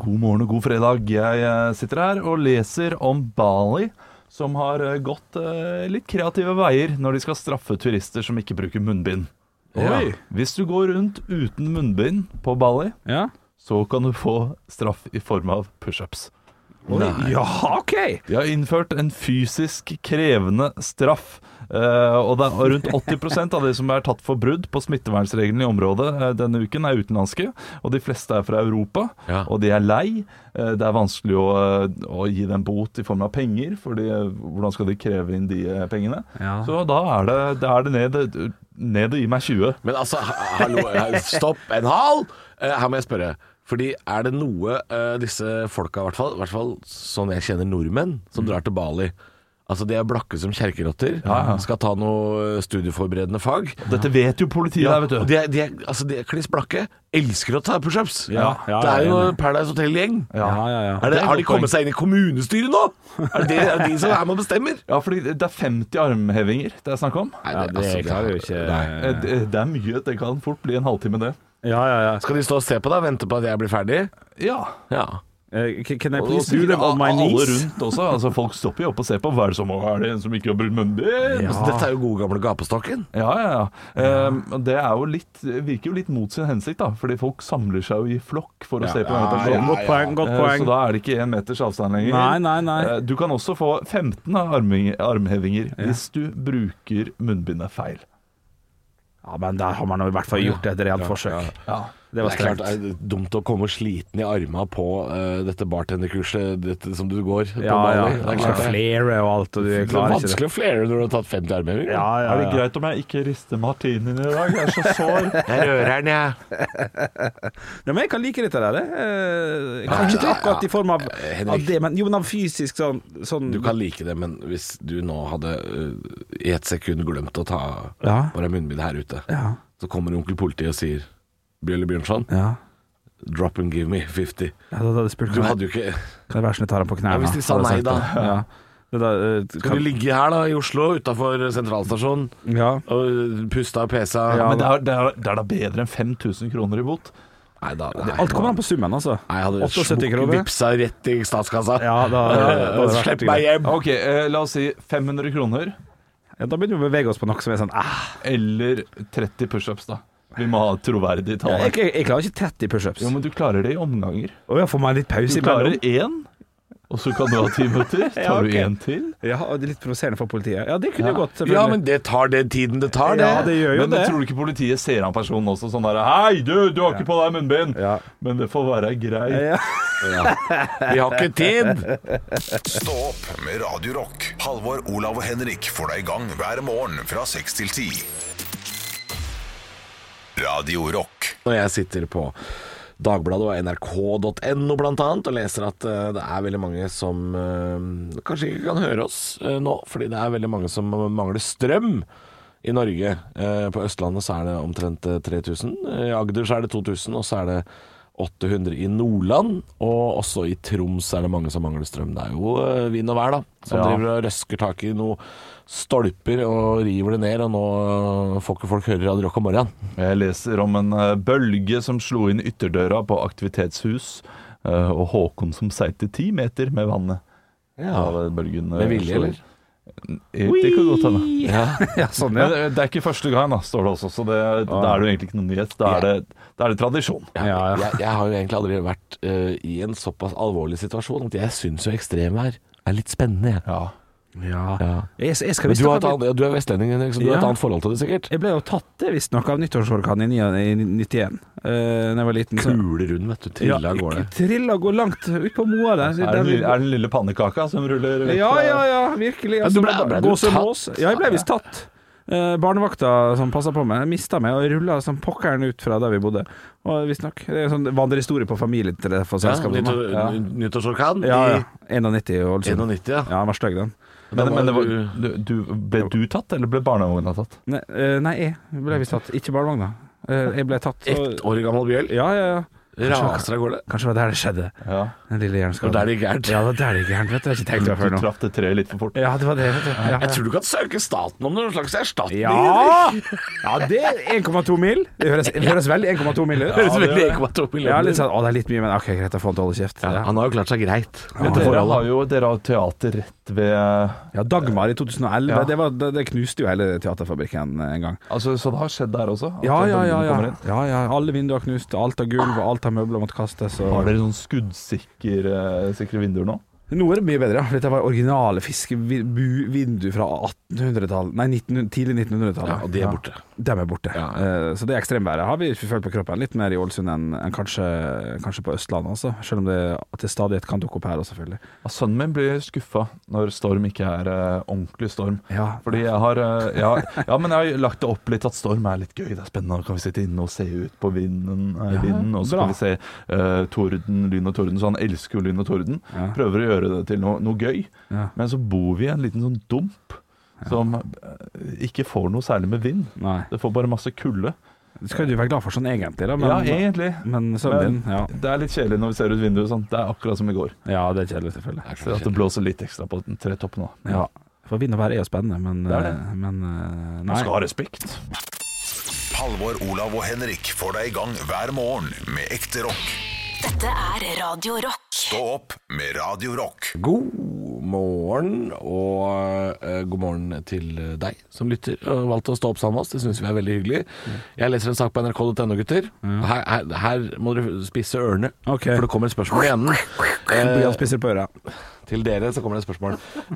God morgen og god fredag. Jeg eh, sitter her og leser om Bali, som har eh, gått eh, litt kreative veier når de skal straffe turister som ikke bruker munnbind.
Oi.
Hvis du går rundt uten munnbind på Bali,
Ja.
så kan du få straff i form av pushups.
ja, OK!
De har innført en fysisk krevende straff. eh, og det er rundt 80 av de som er tatt for brudd på smittevernreglene i området eh, denne uken, er utenlandske. Og de fleste er fra Europa.
Ja.
Og de er lei. Eh, det er vanskelig å, eh, å gi dem bot i form av penger, for hvordan skal de kreve inn de eh, pengene?
Ja.
Så da er det, da er det ned, ned og gi meg 20.
Men altså, ha- hallo, ha- stopp en hal! Eh, Her må jeg spørre. Fordi er det noe eh, disse folka, i hvert fall, i hvert fall sånn jeg kjenner nordmenn, som
Mm.
drar til Bali Altså, de er blakke som kjerkerotter,
Ja, ja.
skal ta noe eh, studieforberedende fag.
Dette vet jo politiet der,
Og
vet du.
de er, de er, altså, de er kliss blakke. Elsker å ta pushups.
Ja, ja,
det er jo
jeg er enig.
Paradise Hotel-gjeng.
Ja, ja, ja.
Er det,
er et
har de
godt poeng.
kommet seg inn i kommunestyret nå? Er det, er det de som er med
[LAUGHS]
og bestemmer?
Ja, fordi det er 50 armhevinger det er snakk om.
Nei,
det klarer jo ikke
Altså, nei.
Eh, Det det er mye. Det kan fort bli en halvtime, det.
Ja, ja, ja.
Skal de stå og se på deg og vente på at jeg blir ferdig?
Ja.
Ja.
Eh, c- Can I
Og
please
sikkert
do them on my
alle
knees?
rundt også. Altså, folk stopper jo opp og ser på. Hva er det som er det en som ikke har brukt munnbind?
Altså, Dette er jo gode gamle gapestokken.
Ja, ja, ja. Ehm, og det er jo litt, virker jo litt mot sin hensikt, da. Fordi folk samler seg jo i flokk for å se på denne
Ja,
personen.
Godt poeng, godt
Eh, Så
poeng.
da er det ikke én meters avstand lenger.
Nei, nei, nei.
Eh, Du kan også få 15 arming- armhevinger hvis du bruker munnbindet feil.
Ja, men der har man jo i hvert fall gjort et reelt forsøk. Det var
Det er klart
strengt.
eh,
det er dumt å komme sliten i arma på eh, dette bartenderkurset dette, som du går
Ja,
på
ja.
Bali.
Det
Det er klart det.
flere og alt, og du
Det er
klarer ikke det.
vanskelig å flere når du har tatt 50 armhevinger.
Ja, ja,
Er det
ja.
greit om jeg ikke rister martinien i dag? Jeg er [LAUGHS] så sår.
Jeg rører den, jeg.
ja, men jeg kan like dette der. eh. Kanskje ikke akkurat i form av, av
Eh, Henrik.
det, men jo, men av fysisk sånn, sånn
Du kan like det, men hvis du nå hadde eh, i et sekund glemt å ta
Ja.
på deg munnbind her ute,
Ja.
så kommer onkel politiet og sier Bjørle Bjørnson,
Ja.
drop and give me 50.
Ja, da hadde jeg spurt
Du
kan jeg-
hadde jo ikke
Kan det være sånn jeg tar ham på knærne?
Ja, hvis de sa nei, da.
Ja. Det da eh,
Kan
kan,
du ligge her, da, i Oslo, utafor sentralstasjonen,
ja.
og puste og pese?
Ja,
Men det er, det, er, det er da bedre enn 5000 kroner i bot.
Nei, da, nei.
Alt kommer an på summen, altså.
Nei, jeg hadde
78
smukk-
kroner.
Vipsa rett i statskassa.
Ja, da,
Eh,
da, da,
[LAUGHS] Slipp meg hjem!
Ok, eh, la oss si 500 kroner
Ja, da begynner vi å bevege oss på noe som er sånn ah,
eller 30 pushups, da. Vi må ha et troverdig tall.
jeg,
her.
jeg, jeg klarer ikke 30 pushups.
Jo, men du klarer det i omganger.
Å ja, får man litt pause
Du
imellom?
klarer én, og så kan du ha ti minutter.
[LAUGHS]
Tar du
ok.
én til?
Ja, og det er litt provoserende for politiet. Ja, det kunne jo gått. selvfølgelig.
Ja, men det tar den tiden det tar, det.
Ja, det gjør jo
Men
det.
tror du ikke politiet ser han personen også sånn derre Hei, du, du har ikke på deg munnbind!
Ja.
Men det får være greit.
Ja.
Vi har ikke tid!
Stå opp med Radio Rock. Halvor, Olav og Henrik får deg i gang hver morgen fra 6 til 10. Radio Rock.
Når jeg sitter på Dagbladet og nrk.no blant annet og leser at eh, det er veldig mange som eh, kanskje ikke kan høre oss eh, nå, fordi det er veldig mange som mangler strøm i Norge. Eh, på Østlandet så er det omtrent eh, 3000, i Agder så er det 2000, og så er det 800 i Nordland, og også i Troms er det mange som mangler strøm. Det er jo eh, vind og vær, da, som
Ja.
driver og røsker tak i noen stolper og river det ned, og nå eh, får ikke folk høre Radio Rock om morgenen.
Jeg leser om en eh, bølge som slo inn ytterdøra på aktivitetshus, eh, og Håkon som seilte ti meter med vannet. Da bølgen, eh,
Med vilje,
slo inn.
eller?
Eh, Det kan godt hende.
ja, sånn,
Men
ja.
det det er ikke første gang, da, står det også, så det, da er det jo egentlig ikke noen nyhet. Da er det, da er det tradisjon.
[LAUGHS] Ja,
Ja, ja.
Jeg, jeg har jo egentlig aldri vært eh, i en såpass alvorlig situasjon at jeg syns jo ekstremvær er litt spennende. Jeg.
Ja.
Ja.
Ja.
Jeg, jeg skal
Men du,
visst
har et annet, du er vestlending, Henrik, så du har
Ja.
et annet forhold til det sikkert?
Jeg ble jo tatt det visstnok av nyttårsorkanen i 91, uh, da jeg var liten. så-
Kuler rundt, vet du. Trilla Altså, av gårde.
Trilla går langt ut på moa der.
Er det,
Der-
den lille- er det den lille pannekaka som ruller vekk
Ja,
fra-
ja, ja, virkelig. Altså,
du ble- ble du
gås og
tatt?
mås. Ja, jeg ble visst tatt. Eh, barnevakta som passa på meg, mista meg og rulla som pokkeren ut fra der vi bodde. Og Visstnok. Det er en sånn vandrehistorie på familietreff og
Ja,
selskap. og sånn,
nyttår-
da.
n- Nyttårsorkan
ja, ja.
i
91 i Ålesund.
91, ja.
Ja, han var stygg, den.
Men, men det var,
Da
du, du, ble du tatt, eller ble barnevogna tatt?
Nei, eh, nei, jeg ble visst tatt. Ikke barnevogna. Eh, jeg ble tatt. og-
Ett år gammel bjøll.
Ja, ja, ja.
Raser av gårde.
Kanskje det var der det skjedde.
Ja.
Den lille hjerneskaden.
Og der det gikk gærent.
Ja, det var der det gikk gærent. Vet du, det har jeg ikke tenkt
Du
meg før nå.
traff det treet litt for fort.
Ja, det var det. Vet du. Ja.
Jeg tror du kan søke staten om noen slags erstatning.
Ja! ja, det er 1,2 mil. Det høres, det høres veldig 1,2 mil ut.
Høres veldig 1,2
Ja,
millioner
litt sånn, å, det er litt mye, men ok, greit, da får han til å holde kjeft.
Ja,
Ja,
Han har jo klart seg greit.
Men dere har jo dere har teater rett ved
ja Dagmar i 2011,
Ja.
det, var, det, det knuste jo hele teaterfabrikken en gang.
Altså, Så det har skjedd der også? at
Ja, ja,
bølgene
ja. ja.
kommer inn?
ja, ja. Alle vinduer knust, alt av gulv, og alt av møbler måtte kastes.
Har
Og...
dere sånn skuddsikre eh, sikre vinduer nå?
Noe er det mye bedre, ja. for Dette var originale fiskevindu fra 1800-tallet, nei 1900, tidlig 1900-tallet.
Ja, og de er borte.
De er borte. Eh, Så det ekstremværet har vi følt på kroppen litt mer i Ålesund enn enn kanskje, kanskje på Østlandet også. Selv om det at det stadighet kan dukke opp her også, selvfølgelig.
Ja, sønnen min blir skuffa når storm ikke er eh, ordentlig storm.
Ja.
Fordi jeg har eh, ja, ja, men jeg har lagt det opp litt at storm er litt gøy. Det er spennende. Da kan vi sitte inne og se ut på vinden, eh, vinden og så
bra.
kan vi se eh, torden, lyn og torden. Så han elsker jo lyn og torden.
Ja.
Prøver å gjøre det til noe, noe gøy.
Ja.
Men så bor vi i en liten sånn dump som eh, ikke får noe særlig med vind.
Nei.
Det får bare masse kulde.
Det skal du være glad for sånn egentlig, da. Men,
ja, egentlig.
men sønnen din, ja.
Det er litt kjedelig når vi ser ut vinduet sånn. Det er akkurat som i går.
ja. Det er kjedelig, selvfølgelig.
Ser at det blåser litt ekstra på den tretoppen nå.
Ja. For vind og vær er jo spennende, men,
Det er det.
eh, men eh,
Man
nei.
skal ha respekt.
Halvor, Olav og Henrik får deg i gang hver morgen med ekte rock.
Dette er Radio Rock.
Stå opp med Radio Rock.
God morgen, og eh, god morgen til deg som lytter og valgte å stå opp sammen med oss. Det syns vi er veldig hyggelig. Jeg leser en sak på nrk.no, gutter. Her, her, her må dere spisse ørene,
Mm. Ok.
for det kommer et spørsmål i
[LAUGHS]
enden. Eh,
Bjørn spiser på øra.
Til dere så kommer det et spørsmål.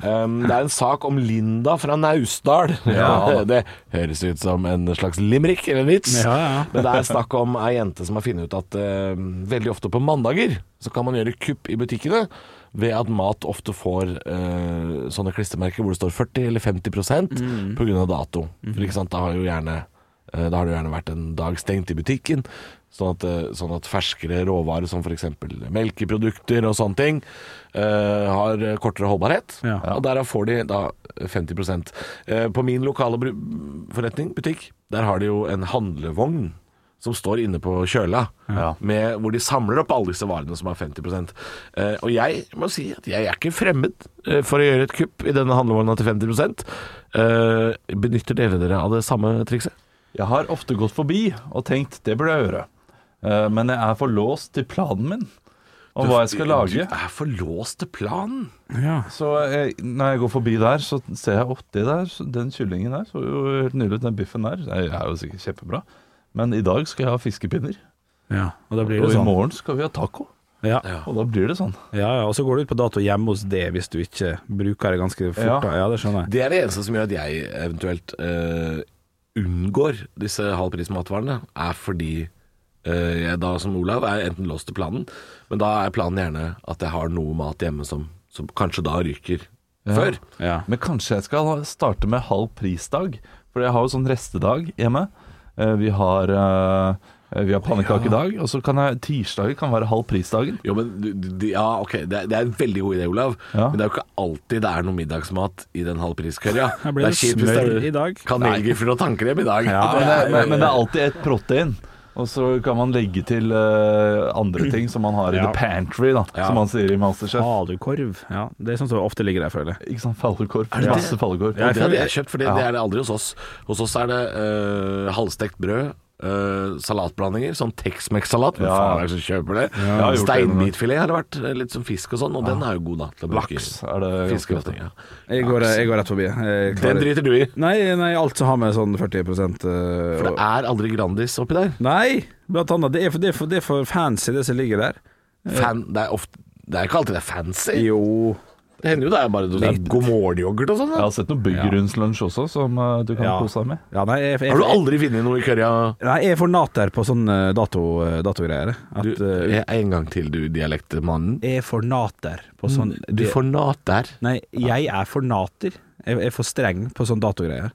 Um, det er en sak om Linda fra Naustdal.
Ja.
[LAUGHS] det høres ut som en slags limerick eller en vits.
Ja, ja.
Men det er snakk om ei jente som har funnet ut at um, veldig ofte på mandager så kan man gjøre kupp i butikkene ved at mat ofte får eh, sånne klistremerker hvor det står 40 eller 50 på grunn av dato. For ikke sant, da har jo gjerne eh, da har det gjerne vært en dag stengt i butikken, sånn at, eh, sånn at ferskere råvarer som f.eks. melkeprodukter og sånne ting, eh, har kortere holdbarhet.
Ja.
Og derav får de da 50 Eh, På min lokale bru- forretning, butikk, der har de jo en handlevogn som står inne på kjøla, med, hvor de samler opp alle disse varene som har 50 eh, Og jeg må si at jeg er ikke fremmed eh, for å gjøre et kupp i denne handlevogna til 50 eh, Benytter dere dere av det samme trikset?
Jeg har ofte gått forbi og tenkt det burde jeg gjøre. Eh, Men jeg er for låst til planen min om hva jeg skal lage.
Du er for låst til planen.
Ja.
Så jeg, når jeg går forbi der, så ser jeg opp det der. så Den kyllingen der så jo helt nydelig ut. Den biffen der det er jo sikkert kjempebra. Men i dag skal jeg ha fiskepinner.
ja. Og da blir
Og
det
i
sånn.
morgen skal vi ha taco.
Ja.
Og da blir det sånn.
Ja, ja, og så går det ut på dato hjemme hos det hvis du ikke bruker det ganske fort.
Ja.
Ja, ja det skjønner jeg.
Det er det eneste som gjør at jeg eventuelt eh, unngår disse halvprismatvarene, er fordi eh, jeg da som Olav er enten låst til planen, men da er planen gjerne at jeg har noe mat hjemme som, som kanskje da ryker før.
Ja.
Men kanskje jeg skal starte med halv prisdag. For jeg har jo sånn restedag hjemme. Eh, Vi har, eh, vi har pannekakedag, og så kan jeg tirsdager kan være halv prisdagen.
Jo, men du- du- de- Ja, ok, det er, det er en veldig god idé, Olav,
Ja.
men det er jo ikke alltid det er noe middagsmat i den
[LAUGHS]
halvpriskørja.
Her blir det
kjipt hvis det er
smør i dag.
Kanelgifler og tannkrem i dag.
Ja, men, det, men, men det er alltid et protein. Og så kan man legge til eh, andre ting som man har i
Ja.
the pantry, da,
Ja.
som man sier i Masterchef.
Falukorv. Ja, det er sånn som ofte ligger der, føler jeg.
Ikke sant? Falukorv.
det det?
Masse falukorv.
Og
Jeg
det hadde
føler-
jeg kjøpt, for det, det er det aldri hos oss. Hos oss er det eh, halvstekt brød, eh, salatblandinger, sånn Tex-Mex-salat. Hvem
Ja.
faen er det som kjøper det?
har gjort det
Steinbitfilet har det vært, eh, litt som fisk og sånn, og den er jo god, da. Til å bruke i
Laks er det ganske
fiskeretning,
ofte.
ja.
Jeg går, jeg går rett forbi. Jeg klarer-
Den driter du i.
Nei, nei, alt som har med sånn 40 eh,
For det er aldri Grandis oppi der.
Nei, blant annet. Det er, for, det, er for, det er for fancy, det som ligger der.
Fan, det, er ofte, det er ikke alltid det er fancy.
Jo
Det hender jo det er bare noe sånn god morgen-yoghurt og sånn.
Jeg
da.
har sett noe burgerrundslunsj også, som eh, du kan
Ja.
kose deg med.
ja, nei, jeg, jeg,
Har du aldri funnet noe i kørja?
Nei, jeg er for nater på sånn eh, dato, eh, datogreier. At,
Du,
eh,
en gang til, du dialektmannen.
jeg er for nater på sånn
Du
det-
får nat der.
Nei, jeg er for nater. Jeg jeg er for streng på sånn datogreier.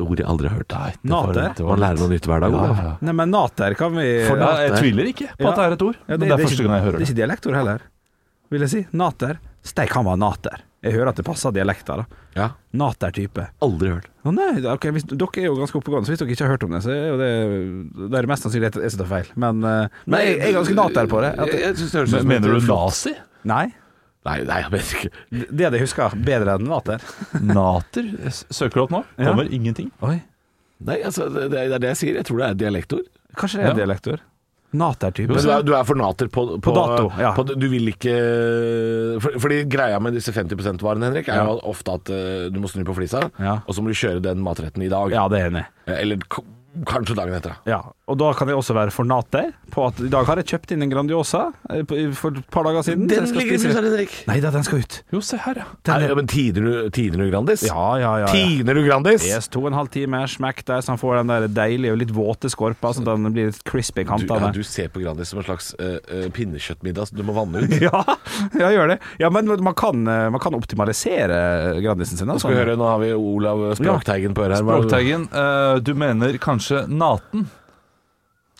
Ord jeg aldri har hørt. Nei,
det var- Nate? det
Man lærer noe nytt hver dag. Olav.
Nei, men nater kan vi
For
Ja, jeg
Nater.
tviler ikke på
Ja.
at det er et ord,
Ja,
men det er første gang jeg
det
hører
er
det.
ikke dialektord heller, vil jeg si. Nater. Steik han var nater. Jeg hører at det passer dialekter, da.
Ja.
Nater-type.
Aldri hørt.
Å nei, da- ok, hvis, dere er jo ganske oppegående, så hvis dere ikke har hørt om det, så er jo det Da er det mest sannsynlig at jeg som tar feil. Men, eh, men jeg, jeg er ganske nater på det. At,
Jeg, jeg synes det høres ut som
Mener
et
du
flott-
nazi?
nei,
Nei, nei, jeg vet ikke.
det hadde jeg huska bedre enn nater.
[LAUGHS] Nater? S- Søker du opp nå?
Ja.
Kommer ingenting.
Oi,
Nei, altså, det, det er det jeg sier. Jeg tror det er et dialektord.
kanskje det er
Ja.
dialektord. Nater-type.
Men du er, du er for nater på, på,
dato, ja.
på- du vil ikke for, Fordi greia med disse 50%-varene, Henrik, er jo ofte at eh, du må snu på flisa,
Ja.
og så må du kjøre den matretten i dag.
Ja, det er jeg enig. i.
Eller k kanskje dagen etter. da.
Ja, og da kan jeg også være for nater på at i dag har jeg kjøpt inn en Grandiosa eh, på- for et par dager siden. så jeg skal spise det.
Henrik.
Nei da, den skal ut.
Jo, se her, ja.
Den
Nei,
er,
men tiner du, tiner du Grandis?
ja, ja, ja. ja.
Tiner du Grandis?
Yes, to og en halv time, smekk der, så han får den der deilige og litt våte skorpa, så den blir litt crispy i
Du, ja,
kantene.
du ser på Grandis som en slags eh, eh, pinnekjøttmiddag som du må vanne ut.
[LAUGHS] Ja, jeg gjør det. Ja, men man kan, eh, man kan optimalisere Grandisen sin. Altså.
Skal vi høre, Nå har vi Olav Språkteigen på øret her. Hva-
Språkteigen, eh, du mener kanskje naten?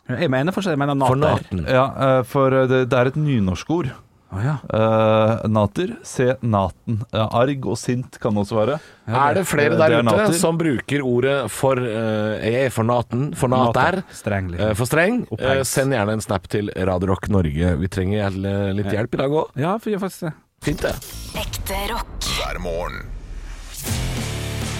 Jeg mener fortsatt jeg mener
For
nater.
naten.
Ja, eh, for eh, det, det er et nynorskord.
Å, ja.
Eh, nater, se naten. Ja, arg og sint kan det også være.
Er det flere
Det-
der
det er
ute
nater.
som bruker ordet for eh, Jeg er for naten, for nater,
Streng litt.
eh, for streng?
Opphengs.
Eh, send gjerne en snap til Radio Rock Norge. Vi trenger gjerne litt hjelp i dag òg.
Ja, for gjør faktisk det.
Fint, det.
Ekte rock.
hver morgen.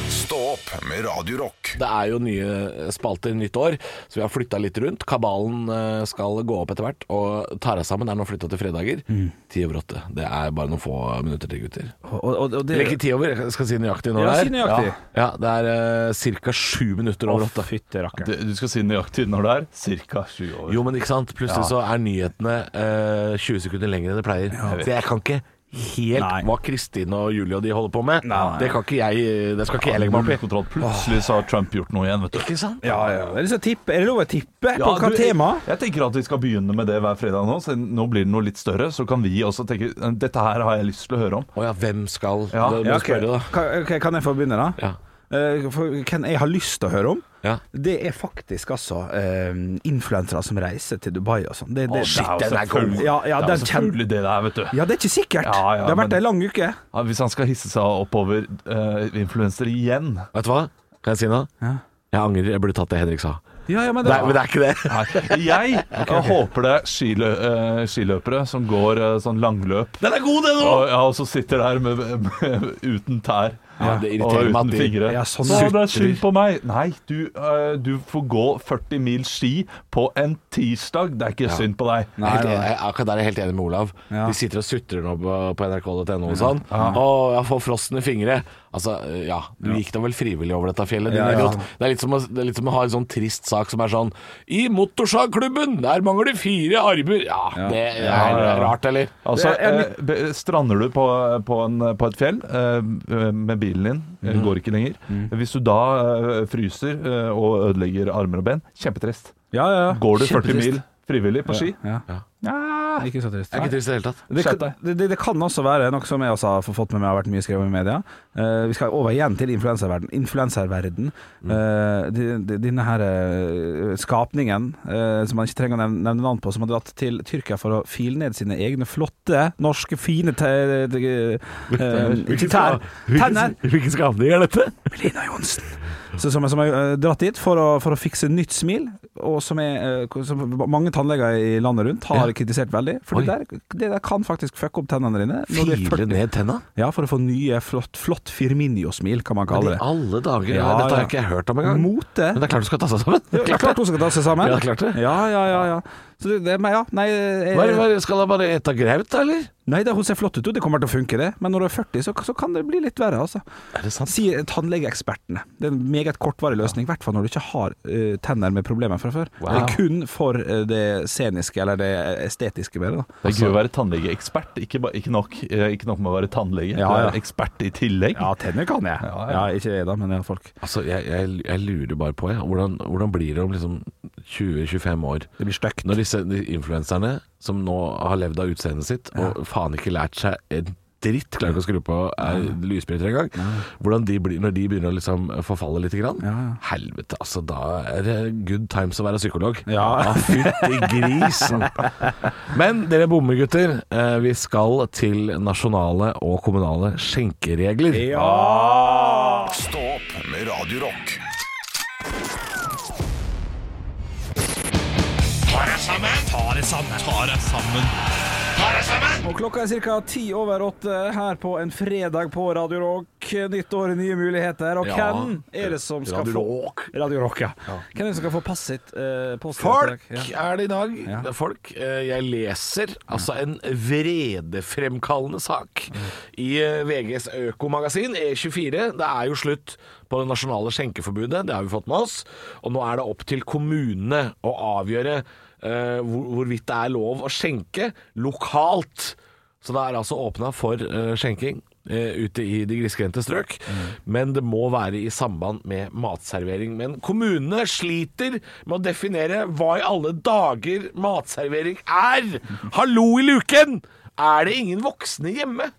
Stå opp med Radio Rock.
Det er jo nye spalter nytt år, så vi har flytta litt rundt. Kabalen eh, skal gå opp etter hvert, og Tara sammen er nå flytta til fredager.
Mm.
Ti over åtte. Det er bare noen få minutter til, gutter.
Og, og, og det
Eller ikke ti over, jeg skal si nøyaktig
Eh, Ja,
når det er.
si nøyaktig.
Ja, det er uh, ca. sju minutter
Å,
over åtte.
fytte rakkeren.
Det, du skal si nøyaktig når det er? Cirka sju år.
Jo, men ikke sant? Plutselig så er nyhetene eh, 20 sekunder lenger enn det pleier. Så jeg kan ikke helt
Nei.
hva Kristin og Julie og de holder på med.
Nei.
Det, kan ikke jeg, eh, det skal ikke jeg legge meg
Null
opp i.
kontroll. Plutselig så har Trump gjort noe igjen, vet du.
Ikke sant?
Ja, ja. Er det, så tipp, er det lov å tippe på hva
du,
tema?
Jeg, jeg tenker at vi skal begynne med det hver fredag nå. Så nå blir det noe litt større, så kan vi også tenke eh, Dette her har jeg lyst til å høre om.
Å ja, hvem skal
Ja,
det, må
Ja,
du spørre, da.
Kan, ok, kan jeg få begynne, da?
Ja.
Eh, for, hvem jeg har lyst til å høre om?
Ja.
Det er faktisk altså eh, influensere som reiser til Dubai og sånn. Det, det,
Å, det er jo
den er
selvfølgelig-
god.
Ja, ja,
det er
den
jo
kjen-
selvfølgelig det der, vet du.
ja, det er ikke sikkert.
Ja, ja,
det har vært
men-
ei lang uke.
Ja, hvis han skal hisse seg oppover uh, influenser igjen
Vet du hva? Kan jeg si noe?
Ja.
Jeg angrer. Jeg burde tatt det Henrik sa.
Ja, ja, men
Nei, men det er ikke det.
Nei, [LAUGHS] jeg håper det er skilø eh, skiløpere som går eh, sånn langløp,
Den er god, den
og,
òg!
ja, og så sitter der med, med, uten tær
Ja, det
og
irriterer
uten
meg at de
fingre.
Ja, sånn
Å, det er
sutrer.
synd på meg! Nei, du, eh, du får gå 40 mil ski på en tirsdag. Det er ikke synd på deg.
Helt enig- jeg- Akkurat der er jeg helt enig med Olav.
Ja.
De sitter og sutrer nå på, på nrk.no og sånn. Å, jeg får frosten i fingre. Altså, ja, du gikk da vel frivillig over dette fjellet, din
Ja, ja.
idiot. Det er, litt som å, det er litt som å ha en sånn trist sak som er sånn I motorsagklubben, der mangler det fire armer. Ja, det er rart, eller?
Altså,
Det er
eh, be- strander du på, på, en, på et fjell eh, med bilen din, eh,
Mm.
går ikke lenger. Hvis du da eh, fryser eh, og ødelegger armer og ben, kjempetrist.
Ja, ja, ja.
Går du 40
Kjempetrist.
mil frivillig på ski?
Ja.
Ja.
Ikke så trist.
Det er ikke trist i det hele tatt.
Det,
Skjerp deg.
det, det, det kan også være noe som jeg også har fått med meg har vært mye skrevet i media. Eh, vi skal over igjen til influenserverden. Influenserverden. Eh, de- de- Denne her eh, skapningen eh, som man ikke trenger å nevne, nevne navn på, som har dratt til Tyrkia for å file ned sine egne flotte, norske, fine te, te, eh, Ikke tær, tenner!
Hvilken skapning er dette?
Lina Johnsen. Så, som, som er eh, dratt dit for å, for å fikse nytt smil, og som, er, eh, som mange tannleger i landet rundt har
Ja.
kritisert veldig. For det der, det der kan faktisk fucke opp tennene dine. når du er 40.
Fire ned tenna?
Ja, for å få nye, flott, flott Firminio-smil, kan man
Men
kalle
i
det.
alle dager, ja,
Ja,
dette har
ja.
jeg ikke hørt om engang.
Mote.
Men det er klart du skal ta seg sammen.
Det er klart hun skal ta seg sammen.
Ja, klart det.
Ja, ja, ja. ja. Så det, det men ja, nei,
Hva er- hva
jeg,
er- Skal jeg bare ete graut, da, eller?
nei da, hun ser flott ut, og det kommer til å funke, det. Men når du er 40, så, så kan det bli litt verre, altså.
Er det sant?
Sier tannlegeekspertene. Det er en meget kortvarig løsning, i hvert fall når du ikke har eh, tenner med problemer fra før. Det er kun for eh, det sceniske, eller det estetiske med det. da. Altså-
Det er gøy å være tannlegeekspert. Ikke, ba- ikke, nok, eh, ikke nok med å være tannlege,
Ja,
du
ja.
er ekspert i tillegg.
Ja, tenner kan jeg. Ja,
Ja, ja.
Ikke jeg, da, men jeg har folk.
Altså, jeg, jeg, jeg lurer bare på, jeg. Hvordan, hvordan blir det om liksom 20-25 år?
Det blir
Ah.
stygt.
Når disse de influenserne som nå har levd av utseendet sitt, og faen ikke lært seg en stritt, klarer ikke å skru på eh, lysbryter engang. Hvordan de blir når de begynner å liksom forfalle litt. Grann. Helvete, altså. Da er det good times å være psykolog. Ah,
Ja.
fytti grisen. Men dere bommer, gutter. Eh, Vi skal til nasjonale og kommunale skjenkeregler.
Stå opp med Radio Rock.
Og klokka er ca. ti over åtte her på en fredag på Radio Rock. Nytt år, nye muligheter. Og
Ja.
hvem er det som skal
Radio Rock.
få Radio Rock, ja. Hvem er det som skal få passet sitt? eh, postkort i dag?
Folk
Ja.
er det i dag.
Ja.
Det er Folk. Eh, Jeg leser altså en vredefremkallende sak
Mm.
i eh, VGs økomagasin E24. Det er jo slutt på det nasjonale skjenkeforbudet, det har vi fått med oss. Og nå er det opp til kommunene å avgjøre eh, hvor, hvorvidt det er lov å skjenke lokalt. Så det er altså åpna for eh, skjenking. eh, ute i de grisgrendte strøk, men det må være i samband med matservering. Men kommunene sliter med å definere hva i alle dager matservering er! Hallo i luken! Er det ingen voksne hjemme?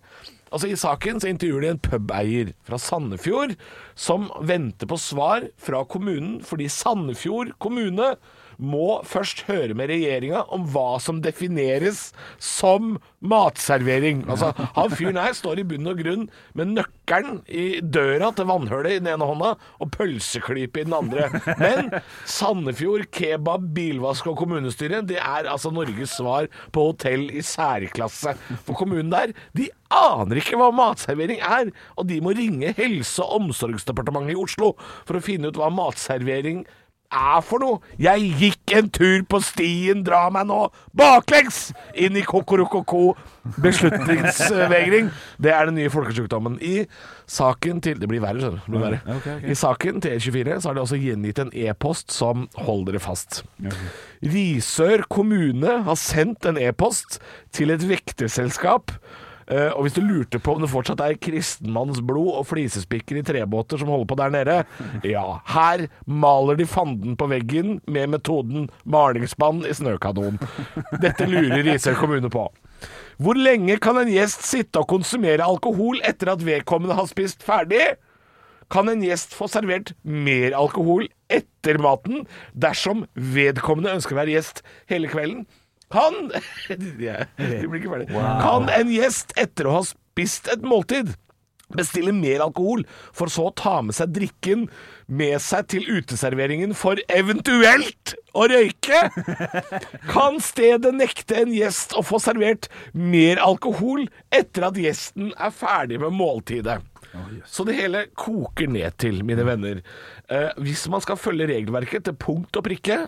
Altså I saken så intervjuer de en pubeier fra Sandefjord som venter på svar fra kommunen fordi Sandefjord kommune må først høre med regjeringa om hva som defineres som matservering. Altså, han fyren her står i bunn og grunn med nøkkelen i døra til vannhullet i den ene hånda og pølseklype i den andre. Men Sandefjord Kebab, Bilvask og kommunestyre, det er altså Norges svar på hotell i særklasse. For kommunen der, de aner ikke hva matservering er, og de må ringe Helse- og omsorgsdepartementet i Oslo for å finne ut hva matservering er for noe. Jeg gikk en tur på stien, dra meg nå baklengs inn i kokorokoko. Beslutningsvegring. Det er den nye folkesjukdommen. I saken til Det blir verre, skjønner du. Det blir verre. I saken til E24 så har de også gjengitt en e-post som Hold dere fast. Risør kommune har sendt en e-post til et vekterselskap. Eh, og hvis du lurte på om det fortsatt er kristenmannsblod og flisespikker i trebåter som holder på der nede Ja, her maler de fanden på veggen med metoden malingsspann i snøkanon. Dette lurer Risør kommune på. Hvor lenge kan en gjest sitte og konsumere alkohol etter at vedkommende har spist ferdig? kan en gjest få servert mer alkohol etter maten dersom vedkommende ønsker å være gjest hele kvelden? Kan [LAUGHS] Jeg blir ikke ferdig. Kan en gjest etter å ha spist et måltid bestille mer alkohol, for så å ta med seg drikken med seg til uteserveringen for eventuelt å røyke? Kan stedet nekte en gjest å få servert mer alkohol etter at gjesten er ferdig med måltidet? Så det hele koker ned til, mine venner. Eh, hvis man skal følge regelverket til punkt og prikke,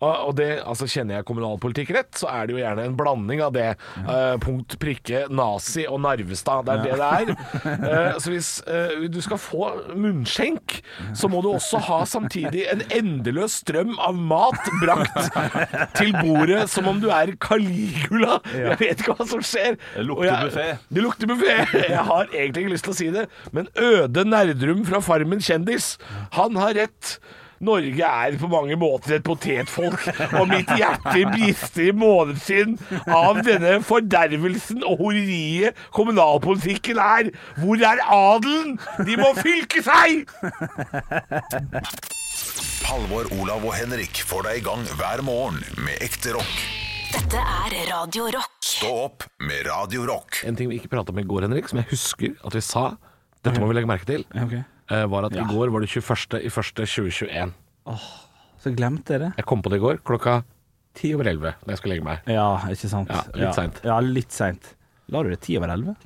og, og det altså kjenner jeg kommunalpolitikk rett, så er det jo gjerne en blanding av det. eh, punkt, prikke, nazi og Narvestad. Det er det det er. Eh, så hvis eh, du skal få munnskjenk, så må du også ha samtidig en endeløs strøm av mat brakt
[LAUGHS]
til bordet som om du er Caligula. Jeg vet ikke hva som skjer.
Det lukter
Og jeg-
buffet.
Det lukter buffé. Jeg har egentlig ikke lyst til å si det, men Øde Nerdrum fra Farmen kjendis, han har rett. Norge er på mange måter et potetfolk, og mitt hjerte brister i månedssinn av denne fordervelsen og horeriet kommunalpolitikken er. Hvor er adelen? De må fylke seg!
Halvor, Olav og Henrik får deg i gang hver morgen med ekte rock.
Dette er Radio Rock.
Stå opp med Radio Rock.
En ting vi ikke prata om i går, Henrik, som jeg husker at vi sa, dette må vi legge merke til, eh, var at i går var det 21. i 1. 2021.
Så glemte jeg det.
Jeg kom på det i går klokka ti over elleve da jeg skulle legge meg.
Ja, ikke sant.
Ja, litt sent.
Ja, litt seint. La du det ti over elleve?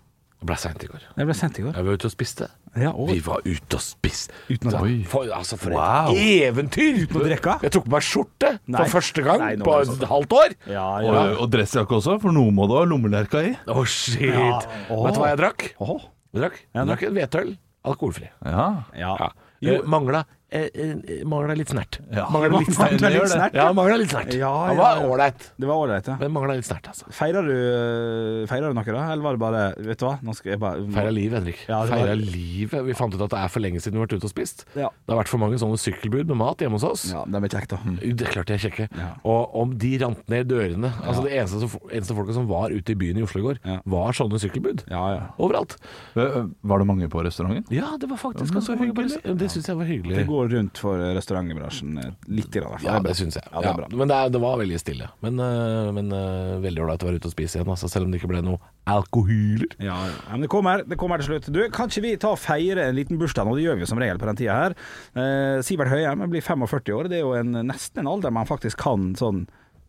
Det ble seint i går.
Det ble sent i går.
Jeg var ute og spiste.
Ja, og
Vi var ute og spiste.
Uten å-
Oi. for, altså, for
Wow.
et eventyr! Uten
å drikke?
Jeg tok på meg skjorte
Nei.
for første gang
Nei, nå
på
er det
et halvt år. Å,
Ja,
Og,
ja.
og dressjakke også, for noe må du ha lommelerka i.
shit!
Ja.
Vet du hva jeg drakk?
Åh.
Jeg drakk, jeg drakk en hvetøl. Alkoholfri.
Ja.
ja.
Ja. Mangla eh, eh, mangla litt snert.
Ja.
Mangla litt snert.
Mangler litt snert,
Ja, mangla litt snert.
Ja,
Han
ja,
var
ja.
ålreit,
Det var ålreit, ja.
men mangla litt snert, altså.
Feira du, feirer du noe, da? Eller var det bare Vet du hva, nå skal jeg bare
Feira livet, Henrik.
Mm. Ja, det var-
Feira livet. Vi fant ut at det er for lenge siden vi har vært ute og spist.
Ja.
Det har vært for mange sånne sykkelbud med mat hjemme hos oss.
Ja, de er kjekke, da.
Det klarte jeg sjekke.
Ja.
Og om de rant ned dørene Altså Det eneste, som- eneste folka som var ute i byen i Oslo i går,
Ja.
var sånne sykkelbud.
Ja, ja.
Overalt.
eh, Var det mange på restauranten?
Ja, det var faktisk
Ja, men
ganske
så
mange på
hyggelig.
restaurant. Det syns jeg var hyggelig.
Det går rundt for restaurantbransjen eh, litt, i hvert fall.
Ja,
er bra.
det syns jeg.
Ja, det er
Ja,
bra.
Men det, er- det var veldig stille. Men, øh, men øh, veldig ålreit å være ute og spise igjen, altså, selv om det ikke ble noe alkohyler.
Ja, ja. Men det kommer, det kommer til slutt. Du, kan ikke vi ta og feire en liten bursdag nå? Det gjør vi jo som regel på den tida her. Eh, Sivert Høyem blir 45 år. Det er jo en, nesten en alder man faktisk kan sånn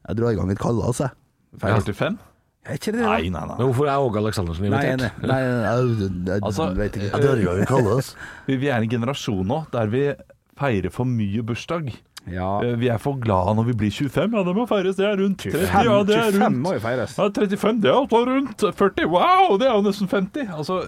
Jeg drar i gang et altså. kalas, jeg. Feire.
45?
Er ikke det det?
Nei, nei,
Men
nei.
hvorfor er Åge Aleksandersen
Nei,
invitert?
nei,
nei.
nei, nei, nei.
Altså, eh,
altså.
vi, vi er en generasjon nå der vi feirer for mye bursdag.
[LAUGHS] Ja.
Eh, Vi er for glade når vi blir 25. Ja, det må feires. Det er rundt 30. Ja, det er
25
rundt.
må jo feires.
Ja, 35, det er også rundt 40. Wow, det er jo nesten 50. Altså,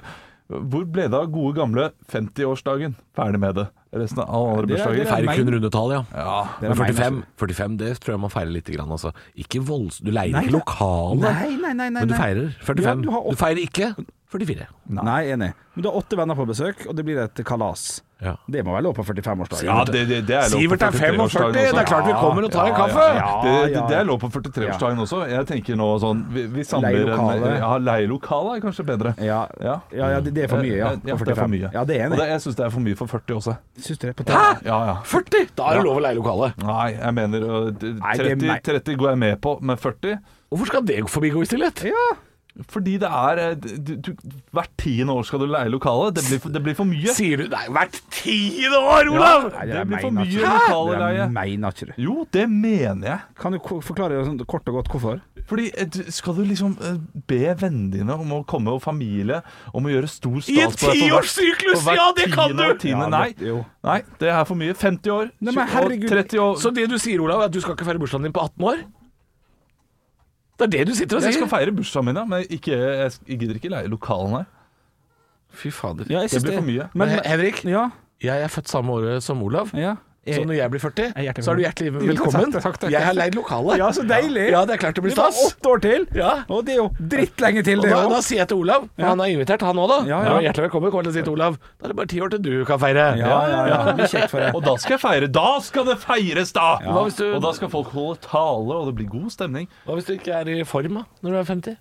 hvor ble det av gode gamle 50-årsdagen? Ferdig med det. Resten av alle andre
Det er-
bursdager.
det er-
Feirer kun
Nei.
rundetall, ja.
Ja.
Det
Men
er meg, altså.
45, 45, det tror jeg man feirer litt. Grann, altså. Ikke volds... Du leier
Nei,
ikke
nei.
lokale,
Nei, nei, nei, nei,
men du
nei.
feirer 45.
Ja, du
du,
har opp-
feirer ikke 44.
Nei. enig. Men du har åtte venner på besøk, og det blir et kalas.
Ja.
Det må være lov på 45-årsdagen.
Ja, det, det, det er lov
Sivert
på
er
43-årsdagen
45, det er
også.
klart vi
Ja,
kommer og tar en
ja,
kaffe.
Ja,
Ja,
Det, det,
ja,
det
ja.
er lov på 43-årsdagen også. Jeg tenker nå sånn Vi, vi samler en-
Leielokale.
Ja, leielokale er kanskje bedre.
Ja, ja.
Ja.
ja, det, det er for mye, ja.
Ja,
på
det er for
45.
mye.
Ja, det er
Og
enig.
det, jeg syns det er for mye for 40 også.
Syns du det? På
Hæ?!
Ja, ja.
40! Da er det lov å leie lokale.
Nei, jeg mener øh, d-
Nei, det er
30,
meg.
30 går jeg med på, men 40
Hvorfor skal det forbigå i stillhet?
Ja.
Fordi det er øh, du, du, Hvert tiende år skal du leie lokale. Det blir, for- det blir for mye.
Sier du Nei, hvert tiende år, Olav!
Nei,
Det
der
blir for
mener
mye
ikke du.
lokalleie.
Det der mener ikke du.
Jo, det mener jeg.
Kan du ko- forklare sånn kort og godt hvorfor?
Fordi eh, du- skal du liksom eh, be vennene dine om å komme og familie om å gjøre stor stas
I en
på deg for hvert-
tiårssyklus,
for hvert
ja, det kan
tiende
du!
og tiende.
Ja, det-
nei,
jo.
nei, det er for mye. 50 år,
Nei,
20
men
år,
herregud.
30 år
Så det du sier, Olav, er at du skal ikke feire bursdagen din på 18 år? Det er det du sitter og
Jeg
sier?
skal feire bursdagen min, ja, men ikke, jeg, jeg gidder ikke leie lokalen her.
Fy fader.
Ja, jeg
Det
syns
blir for mye.
Men,
Men,
Henrik,
ja,
jeg er født samme året som Olav.
ja.
Så når jeg blir 40,
er Eh, hjertelig
så er du hjertelig
Jo,
velkommen.
[LAUGHS] takk, takk, takk.
Jeg har leid lokale.
Ja, så deilig.
Ja, det er klart det blir
det var
stas.
åtte år til!
Ja.
Og det er jo drittlenge til,
Og
det
da, da
òg.
sier jeg til Olav, for han er invitert, han òg, da.
Ja, ja.
Hjertelig velkommen. Kommer til å si til Olav Da er det bare ti år til du kan feire.
Ja, ja, ja. Det blir kjekt for deg.
Og da skal jeg feire. Da skal det feires, da!
Hva hvis du-
Og da skal folk holde tale, og det blir god stemning.
Hva hvis du ikke er i form da, når du er 50?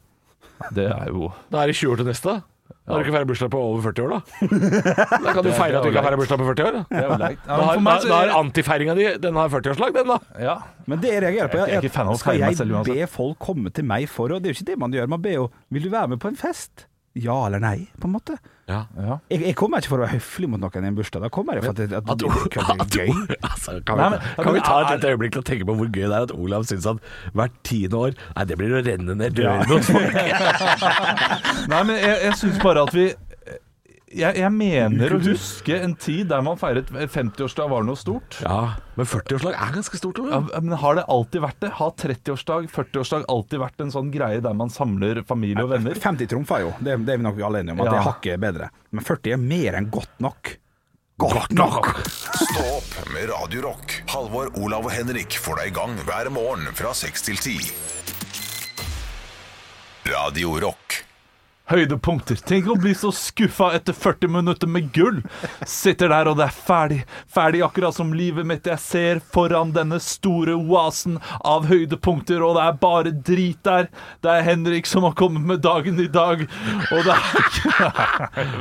Det er jo
Da er det 20 år til neste. Da Da har du ikke feira bursdag på over 40
[LAUGHS]
år, da. Da kan du feire at du ikke har feira bursdag på 40 år. Da,
Det er jo leit. Ja,
da,
men for
har, da,
meg så-
da er antifeiringa di Den har 40-årslag, den, da.
Ja.
Men det jeg reagerer på,
Jeg er ikke fan av å
skal
feire meg
jeg
selv uansett.
be folk komme til meg for å Det er jo ikke det man gjør. Man ber jo 'Vil du være med på en fest?' Ja eller nei, på en måte.
ja.
Jeg, jeg kommer ikke for å være høflig mot noen i en bursdag. Da kommer jeg for at, at, at, det er gøy.
[LAUGHS] Altså, kan,
Nei,
vi,
men-
kan vi
men
ta et
er-
lite øyeblikk til å tenke på hvor gøy det er at Olav syns at hvert tiende år Nei, det blir å renne ned dørene hos [LAUGHS] folk.
Nei, men jeg, jeg syns bare at vi jeg, jeg mener å huske en tid der man feiret 50-årsdag var noe stort.
Ja, men 40-årslag er ganske stort,
Ja,
Olav.
men Har det alltid vært det? Har 30-årsdag, 40-årsdag alltid vært en sånn greie der man samler familie og venner?
50 trumfer jo, det, det er vi nok alle enige om. At
Ja.
det hakket er bedre. Men 40 er mer enn godt nok. Godt nok!
Stå opp med Radio Rock. Halvor, Olav og Henrik får deg i gang hver morgen fra 6 til 10. Radio Rock.
Høydepunkter. Tenk å bli så skuffa etter 40 minutter med gull. Sitter der, og det er ferdig. Ferdig akkurat som livet mitt. Jeg ser foran denne store oasen av høydepunkter, og det er bare drit der. Det er Henrik som har kommet med dagen i dag, og det er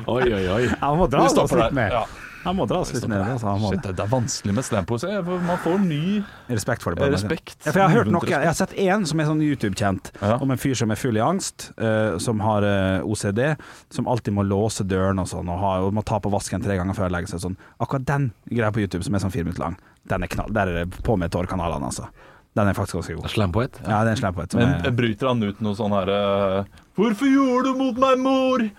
Oi, oi, oi.
Han må dra
Vi
oss
stopper
litt
der.
mer.
Ja.
Han må dra oss litt mer. Altså, han må
Shit,
det.
det er vanskelig med slampoesi. Man får ny
Respekt for det. bare.
Respekt.
Ja, for jeg har hørt
Uvent
noe, jeg har sett én som er sånn YouTube-kjent,
Ja.
om en fyr som er full i angst, eh, som har eh, OCD, som alltid må låse døren og sånn, og, har, og må ta på vasken tre ganger før han legger seg. Sånn. Akkurat den greia på YouTube som er sånn fire minutter lang, den er knall, der er det på med tårekanalene, altså. Den er faktisk ganske god.
Slampoet.
Ja, det er en slampoet. som
Men
er-
bryter han ut noe sånn her eh, 'Hvorfor gjorde du mot meg, mor?'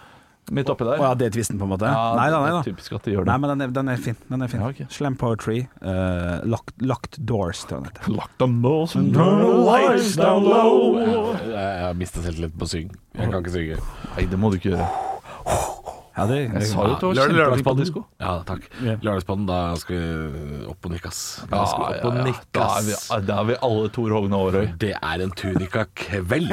Midt oppi der.
Å ja, det er tvisten, på en måte?
Ja,
nei da, nei
det
da.
er Typisk at de gjør det.
Nei, men den er, den er fin. Den er fin.
Ja, ok.
Slam Poetry. eh, locked, locked Doors, tror jeg den heter.
Lagt on those
Jeg har mista selvtillit på å synge. Jeg kan ikke synge.
Nei, det må du ikke gjøre.
Ja, det,
Jeg sa jo at det var
Lørdag-
kjempedisko.
Ja, takk.
Ja.
Lørdagspodden, da skal vi opp og nikke, ass. Da skal
Ja,
vi opp og
ja, ja.
nikke,
Da, er vi,
ass.
da er vi alle Tor Hogne Aarøy.
Det er en tunika-kveld.